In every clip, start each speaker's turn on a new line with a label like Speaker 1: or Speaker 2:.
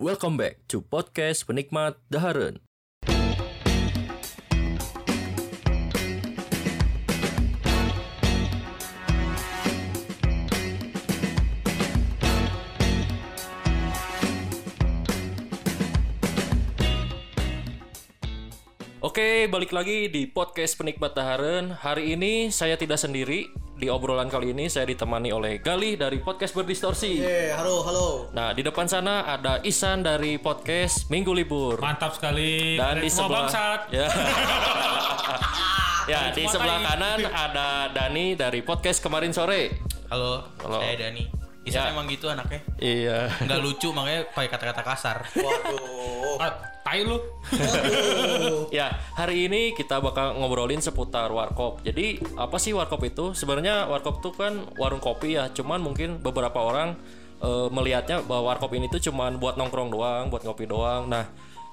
Speaker 1: Welcome back to podcast penikmat Dahareun. Oke, balik lagi di podcast penikmat Dahareun. Hari ini saya tidak sendiri. Di obrolan kali ini saya ditemani oleh Galih dari podcast Berdistorsi.
Speaker 2: Eh, halo, halo.
Speaker 1: Nah, di depan sana ada Isan dari podcast Minggu Libur.
Speaker 3: Mantap sekali.
Speaker 1: Dan di sebelah
Speaker 3: Semua bangsat.
Speaker 1: ya. ya, di
Speaker 3: Semua
Speaker 1: sebelah
Speaker 3: tai.
Speaker 1: kanan ada Dani dari podcast kemarin sore.
Speaker 4: Halo,
Speaker 1: Halo.
Speaker 4: saya Dani. Isan
Speaker 1: Ya.
Speaker 4: emang gitu anaknya.
Speaker 1: Iya.
Speaker 4: Nggak lucu makanya pakai kata-kata kasar.
Speaker 2: Waduh.
Speaker 3: Ah, tai lu.
Speaker 1: Ya, hari ini kita bakal ngobrolin seputar warkop. Jadi, apa sih warkop itu? Sebenarnya warkop itu kan warung kopi ya, cuman mungkin beberapa orang eh, melihatnya bahwa warkop ini tuh cuman buat nongkrong doang, buat ngopi doang. Nah,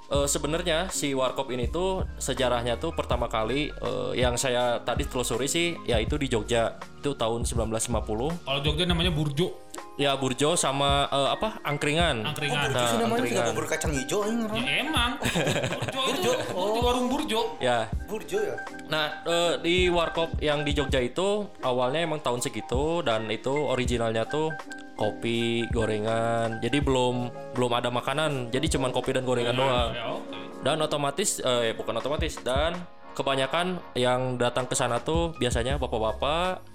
Speaker 1: eh, sebenarnya si warkop ini tuh sejarahnya tuh pertama kali eh, yang saya tadi telusuri sih yaitu di Jogja. Itu tahun 1950.
Speaker 3: Kalau Jogja namanya burjo,
Speaker 1: Ya, Burjo sama eh, apa? Angkringan.
Speaker 3: angkringan.
Speaker 1: Nah,
Speaker 2: Itu namanya juga
Speaker 1: angkringan.
Speaker 2: bubur kacang hijau
Speaker 3: Ya
Speaker 2: ini orang.
Speaker 3: emang. Burjo itu di
Speaker 1: Oh.
Speaker 3: warung burjo.
Speaker 1: Ya,
Speaker 2: Burjo ya.
Speaker 1: Nah, eh, di warkop yang di Jogja itu awalnya emang tahun segitu dan itu originalnya tuh kopi, gorengan. Jadi belum belum ada makanan. Jadi cuman kopi dan gorengan doang.
Speaker 3: Ya, oke.
Speaker 1: Dan otomatis eh bukan otomatis dan kebanyakan yang datang ke sana tuh biasanya bapak-bapak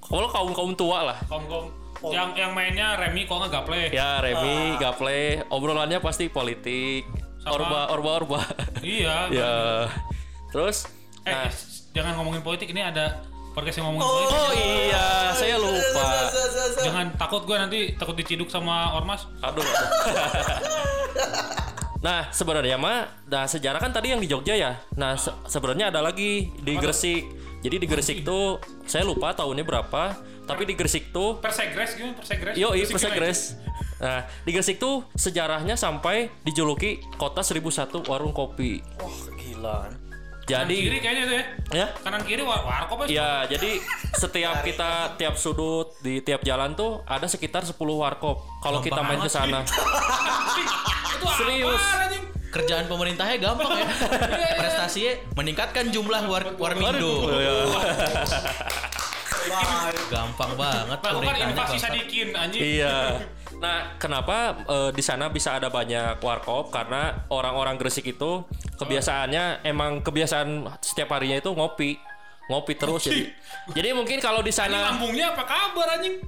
Speaker 1: kalau kaum-kaum tua lah.
Speaker 3: Kom kom.
Speaker 1: Oh.
Speaker 3: Yang yang mainnya Remi kok nggak gaple.
Speaker 1: Ya, Remi, Gaple, obrolannya pasti politik.
Speaker 3: Ah. Sama-
Speaker 1: Orba, orba, orba.
Speaker 3: Iya.
Speaker 1: ya. Terus
Speaker 3: Eh, s- jangan ngomongin politik ini ada podcast yang ngomongin
Speaker 1: Nah.
Speaker 3: politik.
Speaker 1: Oh iya, saya lupa.
Speaker 3: Jangan takut gue nanti takut diciduk sama ormas.
Speaker 1: Aduh. aduh. nah, sebenarnya mah nah sejarah kan tadi yang di Jogja ya. Nah, se- sebenarnya ada lagi di Gresik. Jadi di Gresik tuh saya lupa tahunnya berapa, tapi di Gresik tuh
Speaker 3: Persegres gimana? Persegres.
Speaker 1: yo
Speaker 3: Persegres.
Speaker 1: Persegres. Nah, di Gresik tuh sejarahnya sampai dijuluki Kota 1001 Warung Kopi.
Speaker 2: Wah, gila.
Speaker 3: Kanan kiri
Speaker 1: Jadi
Speaker 3: kayaknya itu ya.
Speaker 1: ya
Speaker 3: Kanan kiri war warkop ya.
Speaker 1: Ya, jadi setiap kita tiap sudut di tiap jalan tuh ada sekitar 10 warkop kalau kita main ke sana.
Speaker 3: Itu apa
Speaker 1: Serius.
Speaker 3: anjing?
Speaker 4: Kerjaan pemerintahnya gampang
Speaker 3: Iya,
Speaker 4: ya. Prestasinya meningkatkan jumlah war
Speaker 3: Oh,
Speaker 4: warmindo.
Speaker 3: iya.
Speaker 2: Wah,
Speaker 4: Gampang banget
Speaker 3: Lakukan kan invasi
Speaker 4: bangsat.
Speaker 3: sadikin anjing.
Speaker 1: Iya. Nah, kenapa eh, di sana bisa ada banyak warkop? Karena orang-orang Gresik itu kebiasaannya emang kebiasaan setiap harinya itu ngopi, ngopi terus. Jadi, jadi mungkin kalau di
Speaker 3: Ini
Speaker 1: sana
Speaker 3: lambungnya apa kabar anjing?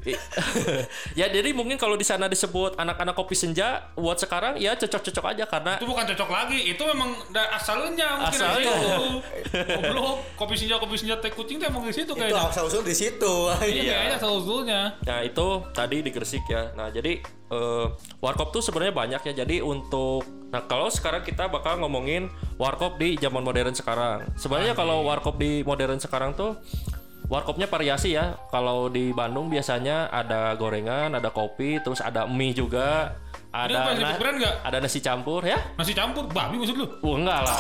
Speaker 1: ya jadi mungkin kalau di sana disebut anak-anak kopi senja buat sekarang ya cocok-cocok aja karena
Speaker 3: Itu bukan cocok lagi, itu memang da- asalnya mungkin dari
Speaker 1: Asalnya.
Speaker 3: situ. Goblok, kopi senja kopi senja teh kucing tuh emang di situ
Speaker 2: itu
Speaker 3: kayaknya.
Speaker 2: asal usul di situ.
Speaker 3: Itu
Speaker 1: Iya.
Speaker 3: kayaknya asal usulnya.
Speaker 1: Nah itu tadi di Gresik ya. Nah jadi eh, warkop tuh sebenarnya banyak ya. Jadi untuk nah kalau sekarang kita bakal ngomongin warkop di zaman modern sekarang. Sebenarnya kalau warkop di modern sekarang tuh warkopnya variasi ya. Kalau di Bandung biasanya ada gorengan, ada kopi, terus ada mie juga, ada
Speaker 3: masih
Speaker 1: na-
Speaker 3: ukuran nggak?
Speaker 1: ada nasi campur ya.
Speaker 3: Nasi campur babi maksud lu?
Speaker 1: Wah enggak lah.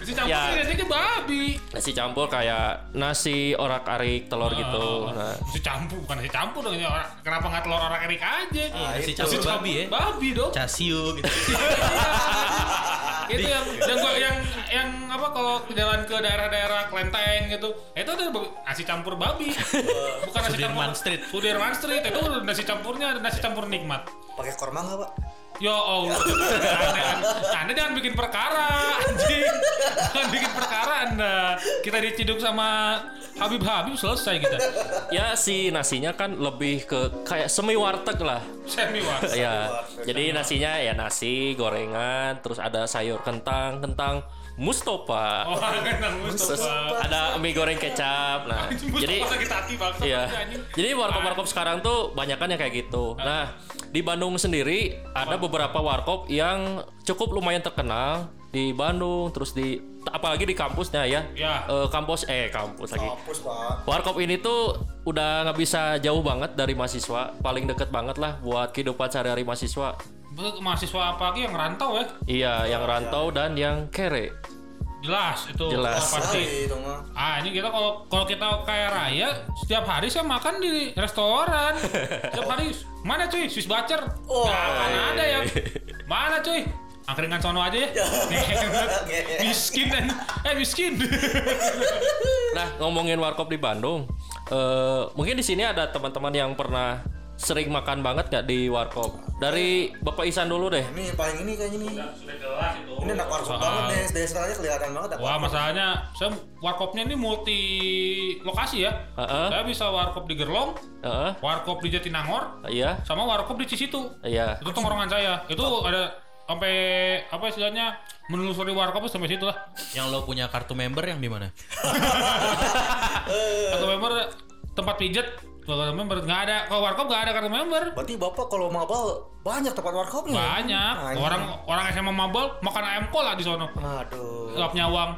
Speaker 3: Nasi campur
Speaker 1: Ya.
Speaker 3: ya. rasanya babi.
Speaker 1: nasi campur kayak nasi orak-arik telur gitu. Nah,
Speaker 3: Oh, Nasi campur bukan nasi campur dong ini orang- Kenapa nggak telur orang erik aja?
Speaker 4: Nasi Ah,
Speaker 3: Iya.
Speaker 4: campur Iya, babi ya.
Speaker 3: Babi dong.
Speaker 4: Casiu gitu.
Speaker 3: itu yang yang gua yang yang apa kalau jalan ke daerah-daerah Klenteng gitu itu ada ba- nasi campur babi bukan nasi
Speaker 4: Sudirman
Speaker 3: campur
Speaker 4: Street.
Speaker 3: Sudirman Street itu nasi campurnya ada nasi campur nikmat
Speaker 2: Pakai korma nggak Pak?
Speaker 3: Ya Allah, Anda- Anda jangan bikin perkara, anjing. Jangan bikin perkara Anda. Kita diciduk sama Habib Habib selesai kita.
Speaker 1: ya si nasinya kan lebih ke kayak semi warteg lah.
Speaker 3: Semi war.
Speaker 1: ya jadi nasinya ya nasi gorengan terus ada sayur kentang kentang Mustopa
Speaker 3: Oh, kenang
Speaker 1: terus
Speaker 3: Mustafa.
Speaker 1: ada mie goreng kecap nah
Speaker 3: Jadi
Speaker 1: jadi
Speaker 3: sakit hati bangsa.
Speaker 1: Iya.
Speaker 3: anjing. Ah.
Speaker 1: Jadi warkop-warkop sekarang tuh banyak kan yang kayak gitu. Nah, di Bandung sendiri ada beberapa warkop yang cukup lumayan terkenal di Bandung, terus di apalagi di kampusnya ya.
Speaker 3: Ya.
Speaker 1: Eh, kampus eh kampus lagi.
Speaker 2: Hapus, Pak.
Speaker 1: Warkop ini tuh udah nggak bisa jauh banget dari mahasiswa, paling deket banget lah buat kehidupan sehari-hari mahasiswa.
Speaker 3: Betul, mahasiswa apa lagi yang rantau ya?
Speaker 1: Iya, yang rantau dan yang kere.
Speaker 3: Jelas itu
Speaker 1: Jelas.
Speaker 3: pasti.
Speaker 2: Wah, itu mah.
Speaker 3: Ah ini kita kalau kalau kita kaya raya setiap hari saya makan di restoran setiap hari mana cuy Swiss bacer
Speaker 2: Oh.
Speaker 3: Nggak akan ada yang mana cuy angkringan sono aja ya miskin dan eh miskin
Speaker 1: Nah ngomongin warkop di Bandung, eh, mungkin di sini ada teman-teman yang pernah sering makan banget nggak di warkop? Dari Bapak Isan dulu deh.
Speaker 2: Ini paling ini kayaknya nih. Ini anak warkop
Speaker 3: Soal-
Speaker 2: banget nih. Dari sekarang aja kelihatan banget. anak
Speaker 3: wah
Speaker 2: warkop.
Speaker 3: masalahnya saya warkopnya ini multi lokasi ya
Speaker 1: Heeh.
Speaker 3: saya bisa warkop di Gerlong
Speaker 1: Heeh.
Speaker 3: warkop di Jatinangor
Speaker 1: Iya,
Speaker 3: sama warkop di Cisitu
Speaker 1: iya.
Speaker 3: itu tongkrongan saya itu ada sampai apa istilahnya menelusuri warkop sampai situ lah
Speaker 4: Yang lo punya kartu member yang di mana?
Speaker 3: kartu member tempat pijet kartu member nggak ada kalau warkop nggak ada kartu member
Speaker 2: Berarti bapak kalau mabal banyak tempat ya? warkopnya.
Speaker 3: banyak
Speaker 2: Banyak.
Speaker 3: orang orang SMA mabal makan ayam kola di sono
Speaker 2: Aduh.
Speaker 3: lapnya uang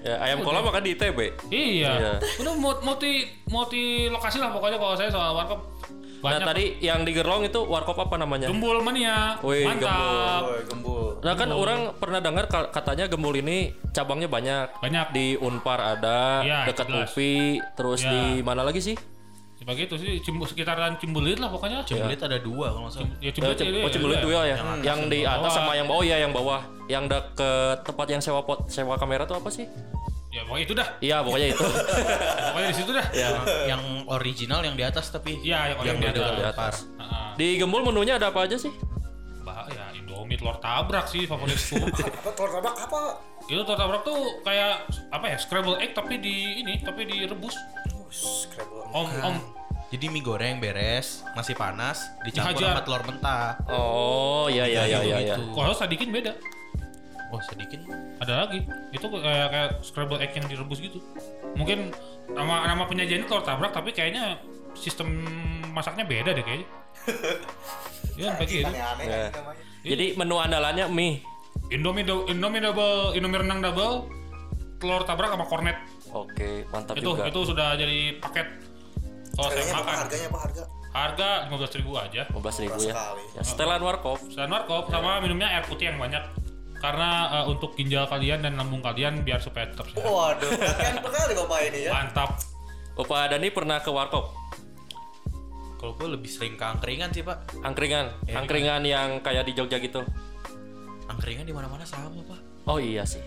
Speaker 1: Ya, ayam kolam makan di ITB. Iya.
Speaker 3: iya itu mut- multi multi lokasi lah pokoknya kalau saya soal warkop
Speaker 1: Nah
Speaker 3: banyak
Speaker 1: tadi yang di Gerlong itu warkop apa namanya?
Speaker 3: gembul mania
Speaker 1: Wih,
Speaker 3: mantap
Speaker 2: Woi, gembul.
Speaker 1: Nah kan orang pernah dengar ka- katanya Gembul ini cabangnya banyak.
Speaker 3: Banyak.
Speaker 1: Di Unpar ada,
Speaker 3: Iya,
Speaker 1: dekat
Speaker 3: jelas.
Speaker 1: UPI, terus
Speaker 3: Iya.
Speaker 1: di mana lagi sih?
Speaker 3: sebagai itu Ya, sih cimbul sekitaran cimbulit lah pokoknya
Speaker 4: Cembulit ada dua kalau nggak salah.
Speaker 3: ya
Speaker 1: Eh,
Speaker 3: cimbulit
Speaker 1: Cim-
Speaker 3: itu
Speaker 1: Iya. oh, Cimbelit dua ya. Yang, di atas
Speaker 3: bawah.
Speaker 1: sama yang bawah ya, yang bawah. Yang deket tempat yang sewa pot, sewa kamera tuh apa sih?
Speaker 3: ya pokoknya itu dah
Speaker 1: Iya, pokoknya itu.
Speaker 3: pokoknya di situ dah
Speaker 1: Iya.
Speaker 4: Yang original yang di atas tapi.
Speaker 3: Iya, yang
Speaker 4: yang,
Speaker 3: original
Speaker 4: di
Speaker 3: yang di
Speaker 4: atas.
Speaker 3: Heeh.
Speaker 1: di Gembul menunya ada apa aja sih?
Speaker 3: Bah, ya Indomie telur tabrak sih favoritku.
Speaker 2: Apa telur tabak apa?
Speaker 3: itu telur tabrak tuh kayak apa ya scramble egg tapi di ini tapi direbus.
Speaker 2: Uh, Scrabble.
Speaker 3: Om om
Speaker 4: Jadi mie goreng beres, masih panas, dicampur
Speaker 3: Dihajar.
Speaker 4: sama telur mentah.
Speaker 1: Oh, iya iya iya iya. iya.
Speaker 4: Gitu.
Speaker 3: kalau sadikin beda.
Speaker 4: Oh sedikit.
Speaker 3: Ada lagi. Itu kayak kayak scramble egg yang direbus gitu. Mungkin nama nama penyajiannya telur tabrak tapi kayaknya sistem masaknya beda deh kayaknya. ya kayak gitu.
Speaker 2: Aneh-aneh
Speaker 1: Ya.
Speaker 2: kan namanya.
Speaker 1: Jadi menu andalannya mie.
Speaker 3: Indomie do- Indomie double, Indomie renang double, telur tabrak sama kornet.
Speaker 1: Oke, mantap
Speaker 3: Itu
Speaker 1: juga.
Speaker 3: itu sudah jadi paket kalau saya
Speaker 2: Harganya apa?
Speaker 3: makan.
Speaker 2: Harganya apa harga?
Speaker 3: Harga 15.000 aja.
Speaker 1: 15 ribu ya.
Speaker 2: Sekali.
Speaker 1: ya. Setelan warkop.
Speaker 3: Selain warkop sama minumnya air putih yang banyak karena eh, untuk ginjal kalian dan lambung kalian biar supaya tetap sehat.
Speaker 2: Waduh, kasihan sekali bapak ini ya.
Speaker 3: Mantap.
Speaker 1: Bapak Dani pernah ke warkop?
Speaker 4: Kalau gue lebih sering ke angkringan sih pak.
Speaker 1: Angkringan, angkringan yang kayak di Jogja gitu.
Speaker 4: Angkringan di mana-mana sama pak.
Speaker 1: Oh iya sih.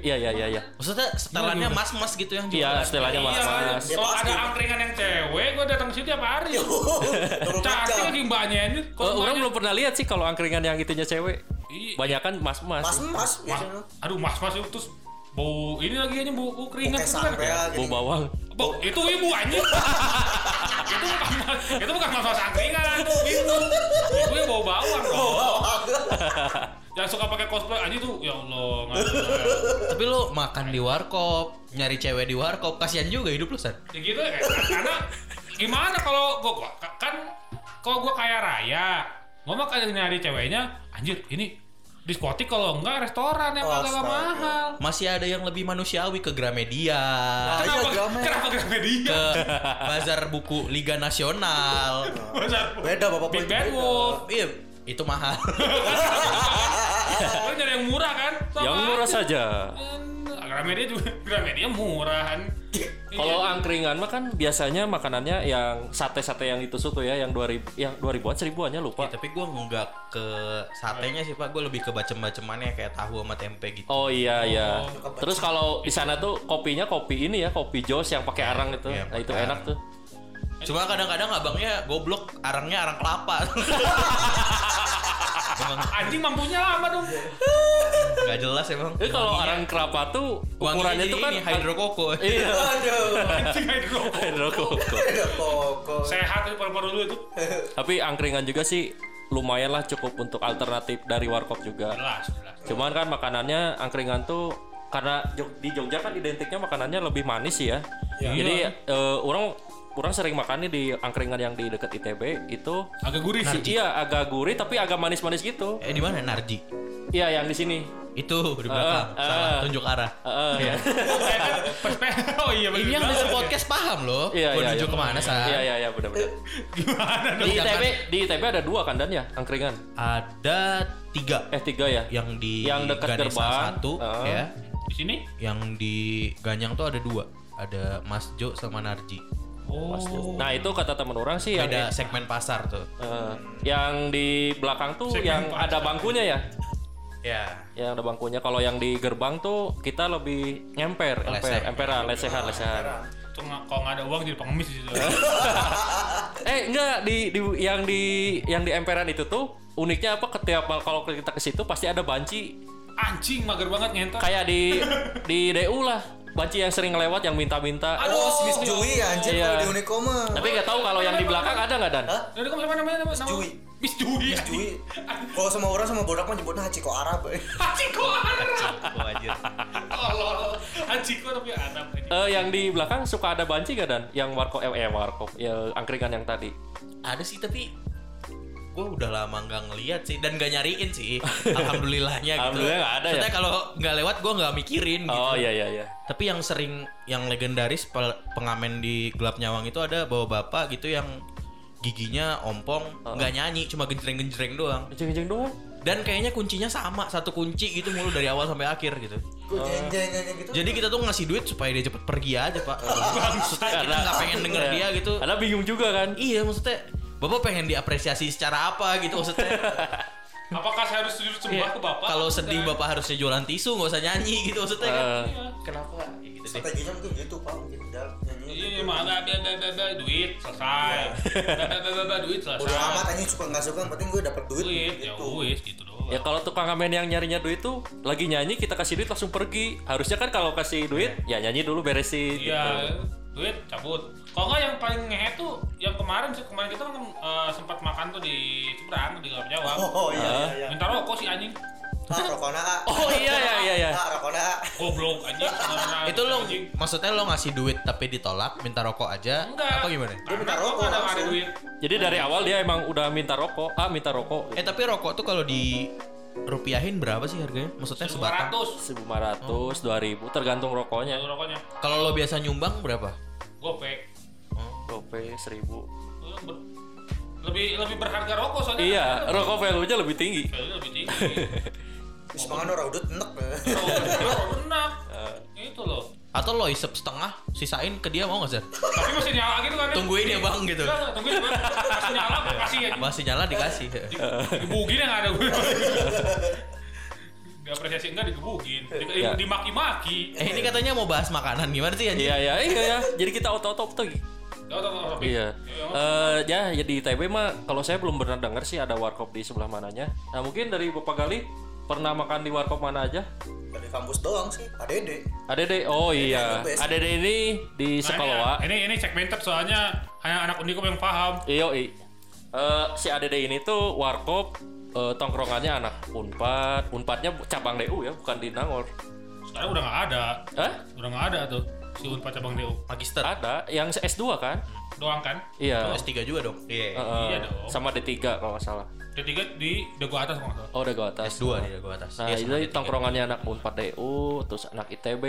Speaker 1: Iya iya iya iya.
Speaker 4: Maksudnya setelannya mas-mas gitu yang
Speaker 1: Iya, kan. setelannya
Speaker 3: Iya, Iya,
Speaker 1: mas-mas.
Speaker 3: kalau ada angkringan yang cewek, gue datang situ tiap hari.
Speaker 2: Turun
Speaker 3: Cantik
Speaker 2: macam.
Speaker 3: lagi mbaknya ini.
Speaker 1: Eh,
Speaker 3: Kalau
Speaker 1: orang
Speaker 3: mbaknya-
Speaker 1: belum pernah lihat sih kalau angkringan yang itunya cewek.
Speaker 3: Iya.
Speaker 1: Banyakan mas-mas.
Speaker 2: Mas mas
Speaker 3: Wah,
Speaker 2: biasanya.
Speaker 3: aduh mas-mas itu terus bau ini lagi ini bau bau keringat
Speaker 2: Kayak
Speaker 3: itu kan.
Speaker 2: sampean
Speaker 1: Bau bawang.
Speaker 3: Bau itu ibu anjing. itu bukan mas- itu bukan mas-mas angkringan itu
Speaker 2: Gitu.
Speaker 3: ibu. Ibu yang bau bawang dong. Yang suka pakai cosplay anjing tuh ya Allah. nggak-
Speaker 4: Tapi lo makan di warkop, nyari cewek di warkop, kasihan juga hidup lo san.
Speaker 3: ya gitu ya, karena gimana kalau gua, gua- kan kalau gua kaya raya gua mah kadang nyari ceweknya anjir ini diskotik kalau enggak restoran yang agak
Speaker 2: Astaga.
Speaker 3: mahal
Speaker 4: Masih ada yang lebih manusiawi ke Gramedia,
Speaker 2: Ah, iya,
Speaker 3: kenapa
Speaker 2: Gramet.
Speaker 3: kenapa Gramedia
Speaker 4: ke bazar buku Liga Nasional.
Speaker 3: Bener.
Speaker 2: Beda bapak
Speaker 3: Big Bad
Speaker 2: Boy, beda.
Speaker 3: Wolf
Speaker 4: Iya, itu mahal.
Speaker 3: Lu nyari yang murah kan Sama
Speaker 1: Yang murah
Speaker 3: aja.
Speaker 1: saja.
Speaker 3: Kan, Gramedia juga Gramedia Iya. murahan
Speaker 1: Kalau angkringan mah kan biasanya makanannya yang sate-sate yang ditusuk tuh ya, yang 2000 yang 2000-an 1000-annya
Speaker 4: Ya,
Speaker 1: lupa.
Speaker 4: tapi gue nggak ke satenya sih pak, gue lebih ke bacem-bacemannya kayak tahu sama tempe gitu.
Speaker 1: Oh iya iya.
Speaker 2: kebaca.
Speaker 1: Terus kalau di sana tuh kopinya kopi ini ya, kopi Jos yang pakai arang itu.
Speaker 4: iya,
Speaker 1: Nah, itu
Speaker 4: pakai
Speaker 1: enak tuh.
Speaker 4: Cuma kadang-kadang abangnya goblok, arangnya arang kelapa. emang
Speaker 3: anjing mampunya lama dong
Speaker 4: nggak jelas emang.
Speaker 1: Eh kalau arang kelapa tuh
Speaker 4: Wanginya
Speaker 1: ukurannya
Speaker 4: jadi
Speaker 1: tuh kan
Speaker 4: ini, hidrokoko.
Speaker 1: Iya.
Speaker 2: Aduh.
Speaker 3: anjing hidro
Speaker 1: Hidrokoko.
Speaker 2: Beda koko.
Speaker 3: sehat itu paru-paru dulu itu
Speaker 1: Tapi angkringan juga sih lumayan lah cukup untuk alternatif dari warkop juga.
Speaker 3: jelas jelas
Speaker 1: Cuman kan makanannya angkringan tuh karena Jog- di Jogja kan identiknya makanannya lebih manis sih ya.
Speaker 3: Iya.
Speaker 1: Jadi eh, orang orang sering makannya di angkringan yang di dekat ITB itu
Speaker 3: agak gurih
Speaker 1: si-
Speaker 3: sih
Speaker 1: iya agak gurih tapi agak manis-manis gitu.
Speaker 4: Eh di mana Narji?
Speaker 1: Iya yang di sini.
Speaker 4: Itu di belakang,
Speaker 1: Ah,
Speaker 4: salah
Speaker 1: ah.
Speaker 4: tunjuk arah.
Speaker 1: Heeh. iya.
Speaker 3: Saya kan pas- oh iya bener.
Speaker 4: Ini yang dengar podcast paham loh.
Speaker 1: Iya
Speaker 4: Gua
Speaker 1: iya.
Speaker 4: nunjuk
Speaker 1: iya.
Speaker 4: kemana san?
Speaker 1: Iya iya iya benar-benar.
Speaker 3: gimana
Speaker 1: Di ITB di ITB ada dua kan dan ya angkringan.
Speaker 4: Ada tiga
Speaker 1: Eh tiga ya.
Speaker 4: yang di
Speaker 1: Yang dekat
Speaker 4: Ganesha
Speaker 1: gerbang.
Speaker 4: satu
Speaker 1: Ah.
Speaker 4: ya.
Speaker 3: Di sini?
Speaker 4: Yang di Ganyang tuh ada dua. Ada Mas Jo sama Narji.
Speaker 3: Oh.
Speaker 1: Nah itu kata teman orang sih yang
Speaker 4: Beda segmen pasar tuh.
Speaker 1: eh, yang di belakang tuh
Speaker 3: Segmen
Speaker 1: yang
Speaker 3: pasar.
Speaker 1: ada bangkunya ya.
Speaker 4: Ya.
Speaker 1: Yang ada bangkunya. Kalau yang di gerbang tuh kita lebih ngemper, emper,
Speaker 4: Leseh.
Speaker 1: emperan, lesehan, lesehan.
Speaker 3: Itu nggak- kalau nggak ada uang jadi pengemis di situ.
Speaker 1: Eh enggak di, di yang di yang di emperan itu tuh uniknya apa? Ketiap kalau kita ke situ pasti ada banci
Speaker 3: Anjing mager banget ngentot.
Speaker 1: kayak di di DU lah banci yang sering lewat yang minta-minta.
Speaker 2: Oh, Swiss Jui anjir
Speaker 1: Iya.
Speaker 2: kalau di Unikoma.
Speaker 1: Tapi nggak tahu kalau yang di belakang ada nggak dan?
Speaker 2: Hah?
Speaker 3: Dari Ya kamu siapa namanya? Nama?
Speaker 2: Jui.
Speaker 3: Bis Jui.
Speaker 2: Swiss Jui. Kalau sama orang sama bodak mah nyebutnya Hachiko Arab. eh.
Speaker 3: Hachiko Arab.
Speaker 4: Oh, anjir.
Speaker 3: Allah. Hachiko tapi Arab. ini.
Speaker 1: Eh yang di belakang suka ada banci nggak dan? Yang warkop eh, eh warkop ya angkringan yang tadi.
Speaker 4: ada sih tapi gue udah lama nggak ngeliat sih dan gak nyariin sih alhamdulillahnya gitu
Speaker 1: Alhamdulillah nggak ada ya?
Speaker 4: Maksudnya kalau nggak lewat gue nggak mikirin gitu
Speaker 1: Oh iya iya iya.
Speaker 4: tapi yang sering yang legendaris pel- pengamen di gelap nyawang itu ada bawa bapak gitu yang giginya ompong
Speaker 1: Oh.
Speaker 4: nggak nyanyi cuma genjreng-genjreng doang
Speaker 1: Jeng-jeng doang.
Speaker 4: dan kayaknya kuncinya sama satu kunci gitu mulu dari awal sampai akhir gitu
Speaker 2: Kok jeng-jeng gitu.
Speaker 4: jadi kita tuh ngasih duit supaya dia cepet pergi aja pak Maksudnya kita nggak pengen denger
Speaker 1: Oh. Iya.
Speaker 4: dia gitu
Speaker 1: Karena bingung juga kan.
Speaker 4: Iya maksudnya Bapak pengen diapresiasi secara apa gitu maksudnya
Speaker 3: Apakah saya harus sujud sembah
Speaker 4: Iya.
Speaker 3: ke bapak? Iya.
Speaker 4: Kalau sedih bapak harusnya jualan tisu nggak usah nyanyi gitu maksudnya kan
Speaker 1: Eh,
Speaker 4: Kenapa? Ya, gitu deh.
Speaker 2: strateginya mungkin gitu Pak, mungkin udah nyanyi. gitu.
Speaker 3: Iya, mah ada ada ada ada duit selesai. Ada ada ada duit selesai.
Speaker 2: Udah amat anjing suka nggak suka, yang penting gue dapet duit.
Speaker 3: Duit, ya
Speaker 2: gitu.
Speaker 3: wis gitu doang.
Speaker 1: Ya kalau tukang ngamen yang nyarinya duit tuh lagi nyanyi kita kasih duit langsung pergi. Harusnya kan kalau kasih duit ya nyanyi dulu beresin.
Speaker 3: Iya,
Speaker 1: gitu.
Speaker 3: duit cabut. Kalau nggak yang paling ngehe tuh yang kemarin sih kemarin kita kan eh, sempat makan tuh di Seberang di Gelap Jawa.
Speaker 2: Oh iya iya iya.
Speaker 3: Minta rokok sih anjing.
Speaker 2: Pak Rokona. ah.
Speaker 1: Oh iya iya iya. iya.
Speaker 2: Pak Rokona. ah.
Speaker 3: Goblok anjing.
Speaker 1: Eh.
Speaker 3: Beneran,
Speaker 4: Itu lo
Speaker 3: anjing.
Speaker 4: maksudnya lo ngasih duit tapi ditolak minta rokok aja
Speaker 3: Enggak.
Speaker 4: apa gimana?
Speaker 2: Dia minta
Speaker 3: Karena
Speaker 2: rokok
Speaker 3: nggak ada
Speaker 2: langsung.
Speaker 3: duit.
Speaker 1: Jadi dari awal dia emang udah minta rokok. Ah minta rokok.
Speaker 4: Eh tapi rokok tuh kalau di rupiahin berapa sih harganya? Maksudnya sebatang?
Speaker 3: 200
Speaker 1: 1500, 2000 tergantung
Speaker 3: ya
Speaker 1: rokoknya.
Speaker 3: rokoknya.
Speaker 4: Kalau lo biasa nyumbang berapa?
Speaker 3: Gopek.
Speaker 1: Gope 1000.
Speaker 3: Lu ber- Lebih lebih berharga rokok soalnya.
Speaker 1: Iya,
Speaker 3: Karena
Speaker 1: rokok value-nya lebih tinggi.
Speaker 3: value lebih tinggi.
Speaker 2: Bisa makan orang udut enek.
Speaker 3: Rokok enak. Itu loh.
Speaker 4: Atau lo isep setengah sisain ke dia mau nggak sih?
Speaker 3: Tapi masih nyala gitu kan. ya.
Speaker 4: Tungguin ya bang
Speaker 3: Enggak,
Speaker 4: gitu.
Speaker 3: enggak, Tungguin. Bang. Masih nyala gua kasih ya.
Speaker 4: Masih nyala dikasih.
Speaker 3: digebugin yang ada gue diapresiasi enggak digebugin di,
Speaker 1: Ya.
Speaker 4: Iya.
Speaker 3: dimaki-maki
Speaker 4: Eh ini katanya mau bahas makanan gimana sih anjing?
Speaker 1: Iya iya iya ya. Jadi kita otot-otot tuh.
Speaker 3: Tahu, tahu, tahu, Robby.
Speaker 1: Iya. Eh ya, ya di ITB mah kalau saya belum pernah dengar sih ada warkop di sebelah mananya. Nah, mungkin dari Bapak Gali pernah makan di warkop mana aja?
Speaker 2: Dari kampus doang sih, ADD.
Speaker 1: ADD. Oh iya.
Speaker 2: ADD.
Speaker 1: ADD ini di
Speaker 3: Nah,
Speaker 1: Sekoloa.
Speaker 3: ini ini segmented soalnya hanya anak unikum yang paham
Speaker 1: Iyo, i. Iya, Eh, si ADD ini tuh warkop eh, tongkrongannya anak Unpad. Unpadnya cabang DU ya, bukan di Nangor.
Speaker 3: sekarang udah nggak ada
Speaker 1: Hah?
Speaker 3: udah nggak ada tuh si unpad cabang do
Speaker 4: Magister.
Speaker 1: Ada yang S2 kan?
Speaker 3: doang kan
Speaker 1: Iya.
Speaker 4: S3 juga dong.
Speaker 1: Eh,
Speaker 4: Oh, Iya.
Speaker 1: eh,
Speaker 3: iya dong.
Speaker 1: sama D3 kalau nggak salah.
Speaker 3: ketiga di dago atas kalau nggak salah
Speaker 1: Oh, udah gua atas.
Speaker 4: S2 nih gua atas.
Speaker 1: Nah,
Speaker 4: Iya,
Speaker 1: itu
Speaker 4: sama
Speaker 1: jadi
Speaker 4: D3.
Speaker 1: tongkrongannya anak Unpad DU, terus anak ITB,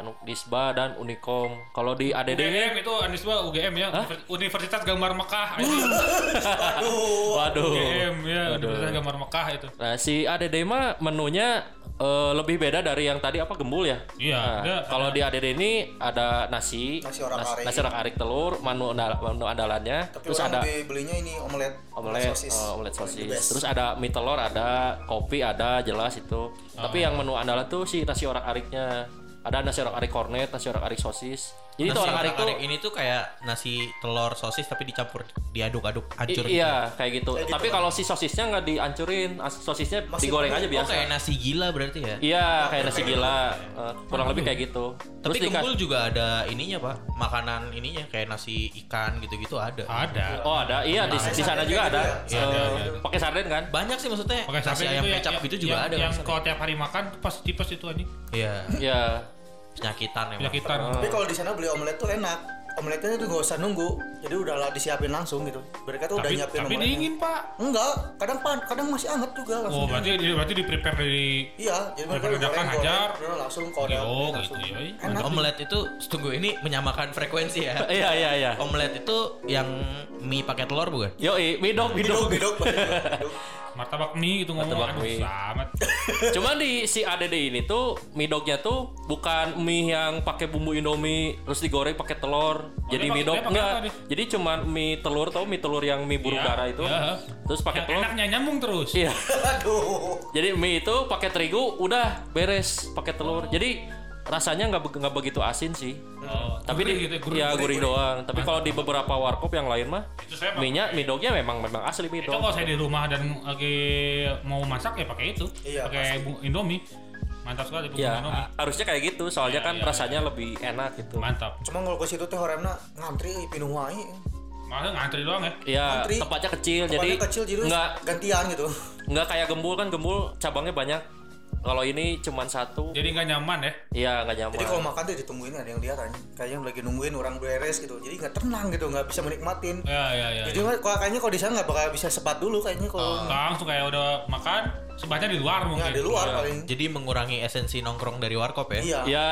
Speaker 1: anak Disba dan Unikom. Kalau di ADD ini,
Speaker 3: UGM itu Anisba UGM ya Universitas Gambar Mekah
Speaker 1: Uh. waduh.
Speaker 3: UGM ya Universitas Gambar Mekah itu
Speaker 1: Nah, si ADD mah menunya eh, lebih beda dari yang tadi apa gembul ya?
Speaker 3: Iya,
Speaker 1: Nah,
Speaker 3: ada-
Speaker 1: kalau di ADD ini ada nasi,
Speaker 2: Nasi orang
Speaker 1: nas-
Speaker 2: arik.
Speaker 1: nasi orang arik telur, menu, andal- menu andalannya,
Speaker 2: Tapi
Speaker 1: terus ada
Speaker 2: orang lebih belinya ini omelet,
Speaker 1: omelet, eh, omelet
Speaker 2: The
Speaker 1: sosis.
Speaker 2: best.
Speaker 1: Terus ada mie telur, ada kopi, ada jelas itu. Tapi yang menu andalan tuh si nasi orang ariknya. Ada nasi orang arik kornet, nasi orang arik sosis. Jadi itu
Speaker 4: gitu. Nasi
Speaker 1: orang arik tuh
Speaker 4: ini tuh kayak nasi telur sosis tapi dicampur diaduk-aduk hancur
Speaker 1: I- iya kayak gitu. Tapi kalau si sosisnya nggak dihancurin, as- sosisnya
Speaker 2: Masih
Speaker 1: digoreng
Speaker 2: pakai-
Speaker 1: aja
Speaker 4: gitu.
Speaker 1: biasa.
Speaker 4: Oh kayak nasi gila berarti ya.
Speaker 1: Iya kayak nasi gila, Eh, kurang lebih kayak gitu.
Speaker 4: Tapi
Speaker 1: dika-
Speaker 4: kembul juga ada ininya pak, makanan ininya kayak nasi ikan gitu-gitu ada.
Speaker 3: ada
Speaker 1: Oh ada, iya di, di sana
Speaker 2: sarden
Speaker 1: juga
Speaker 2: kayak
Speaker 1: ada. Eh,
Speaker 2: gitu
Speaker 3: Iya, iya, iya.
Speaker 1: Pakai sarden kan?
Speaker 4: Banyak sih maksudnya
Speaker 3: Pakai
Speaker 4: nasi
Speaker 3: sampai
Speaker 4: ayam
Speaker 3: itu ya,
Speaker 4: kecap
Speaker 3: ya,
Speaker 4: gitu juga
Speaker 3: yang-
Speaker 4: ada.
Speaker 3: yang
Speaker 4: maksudnya.
Speaker 3: kalau tiap hari makan tuh pasti tipes itu anjing
Speaker 4: Iya
Speaker 1: Iya.
Speaker 4: penyakitan emang.
Speaker 3: penyakitan
Speaker 2: Tapi kalau di sana beli omelet tuh enak. Omeletnya tuh gak usah nunggu, jadi udah lah disiapin langsung gitu. Mereka tuh udah
Speaker 3: tapi,
Speaker 2: nyiapin
Speaker 3: tapi
Speaker 2: omeletnya.
Speaker 3: dingin pak
Speaker 2: Enggak, kadang pan, kadang masih anget juga langsung.
Speaker 3: Oh, berarti berarti di prepare dari
Speaker 2: Iya, jadi mereka
Speaker 3: Daripada
Speaker 2: goreng,
Speaker 3: makan hajar.
Speaker 2: goreng, goreng, langsung korel.
Speaker 3: Oh,
Speaker 2: langsung.
Speaker 3: gitu, yoi.
Speaker 2: Enak.
Speaker 4: Omelet itu setunggu ini menyamakan frekuensi ya.
Speaker 1: Iya iya iya.
Speaker 4: Omelet itu yang mie pakai telur bukan?
Speaker 1: Yo, midok, midok.
Speaker 2: Bidok, bidok, bidok.
Speaker 3: martabak mie gitu ngomong
Speaker 1: Martabak
Speaker 3: aduh
Speaker 1: mie.
Speaker 3: susah amat
Speaker 1: Cuman di si ADD ini tuh mie dognya tuh bukan mie yang pakai bumbu indomie terus digoreng pakai telur. jadi
Speaker 3: Oh, dia
Speaker 1: mie
Speaker 3: pakai-
Speaker 1: dog
Speaker 3: dia pakai
Speaker 1: enggak.
Speaker 3: apa dia?
Speaker 1: Jadi cuman mie telur tau mie telur yang mie burung
Speaker 3: Iya,
Speaker 1: dara itu.
Speaker 3: iya.
Speaker 1: Terus pakai
Speaker 3: yang
Speaker 1: telur.
Speaker 3: enaknya nyambung terus
Speaker 1: Iya.
Speaker 2: Aduh.
Speaker 1: Jadi mie itu pakai terigu udah beres pakai telur. Jadi rasanya nggak be- nggak begitu asin sih.
Speaker 3: Oh,
Speaker 1: Tapi
Speaker 3: gurih
Speaker 1: di,
Speaker 3: gitu ya, gurih.
Speaker 1: ya gurih doang. Tapi kalau di beberapa warkop yang lain mah
Speaker 3: Itu saya pakai.
Speaker 1: minyak mie dognya memang memang asli mie
Speaker 3: itu
Speaker 1: dog.
Speaker 3: kalau saya di rumah dan lagi mau masak ya pakai itu
Speaker 2: Iya,
Speaker 3: pakai bu- indomie mantap sekali bumbu
Speaker 1: Ya
Speaker 3: indomie
Speaker 1: a- harusnya kayak gitu. Soalnya
Speaker 3: Iya,
Speaker 1: kan
Speaker 3: iya,
Speaker 1: rasanya lebih enak gitu.
Speaker 3: mantap
Speaker 2: Cuma kalau ke situ teh horemna ngantri euy, pinuh wae.
Speaker 3: malah ngantri doang ya
Speaker 1: Ya
Speaker 2: Antri.
Speaker 1: tempatnya kecil jadi
Speaker 2: Tempatnya kecil jadi
Speaker 1: nggak
Speaker 2: gantian gitu.
Speaker 1: nggak kayak gembul kan gembul cabangnya banyak. Kalau ini cuman satu.
Speaker 3: jadi nggak nyaman ya
Speaker 1: Iya nggak nyaman.
Speaker 2: Jadi kalau makan tuh ditungguin ada yang lihat aja. Kayak yang lagi nungguin orang beres gitu. Jadi nggak tenang gitu, nggak bisa menikmatin.
Speaker 3: ya ya
Speaker 1: Iya,
Speaker 3: ya,
Speaker 2: Jadi
Speaker 3: ya.
Speaker 2: mah, kalau- kayaknya kalau di sana nggak bakal bisa sebat dulu kayaknya
Speaker 1: Oh,
Speaker 2: kalau
Speaker 3: langsung kayak udah makan sebahnya di luar mungkin
Speaker 2: ya
Speaker 1: iya,
Speaker 2: di luar paling.
Speaker 4: Jadi mengurangi esensi nongkrong dari warkop ya.
Speaker 2: Iya.
Speaker 1: Ya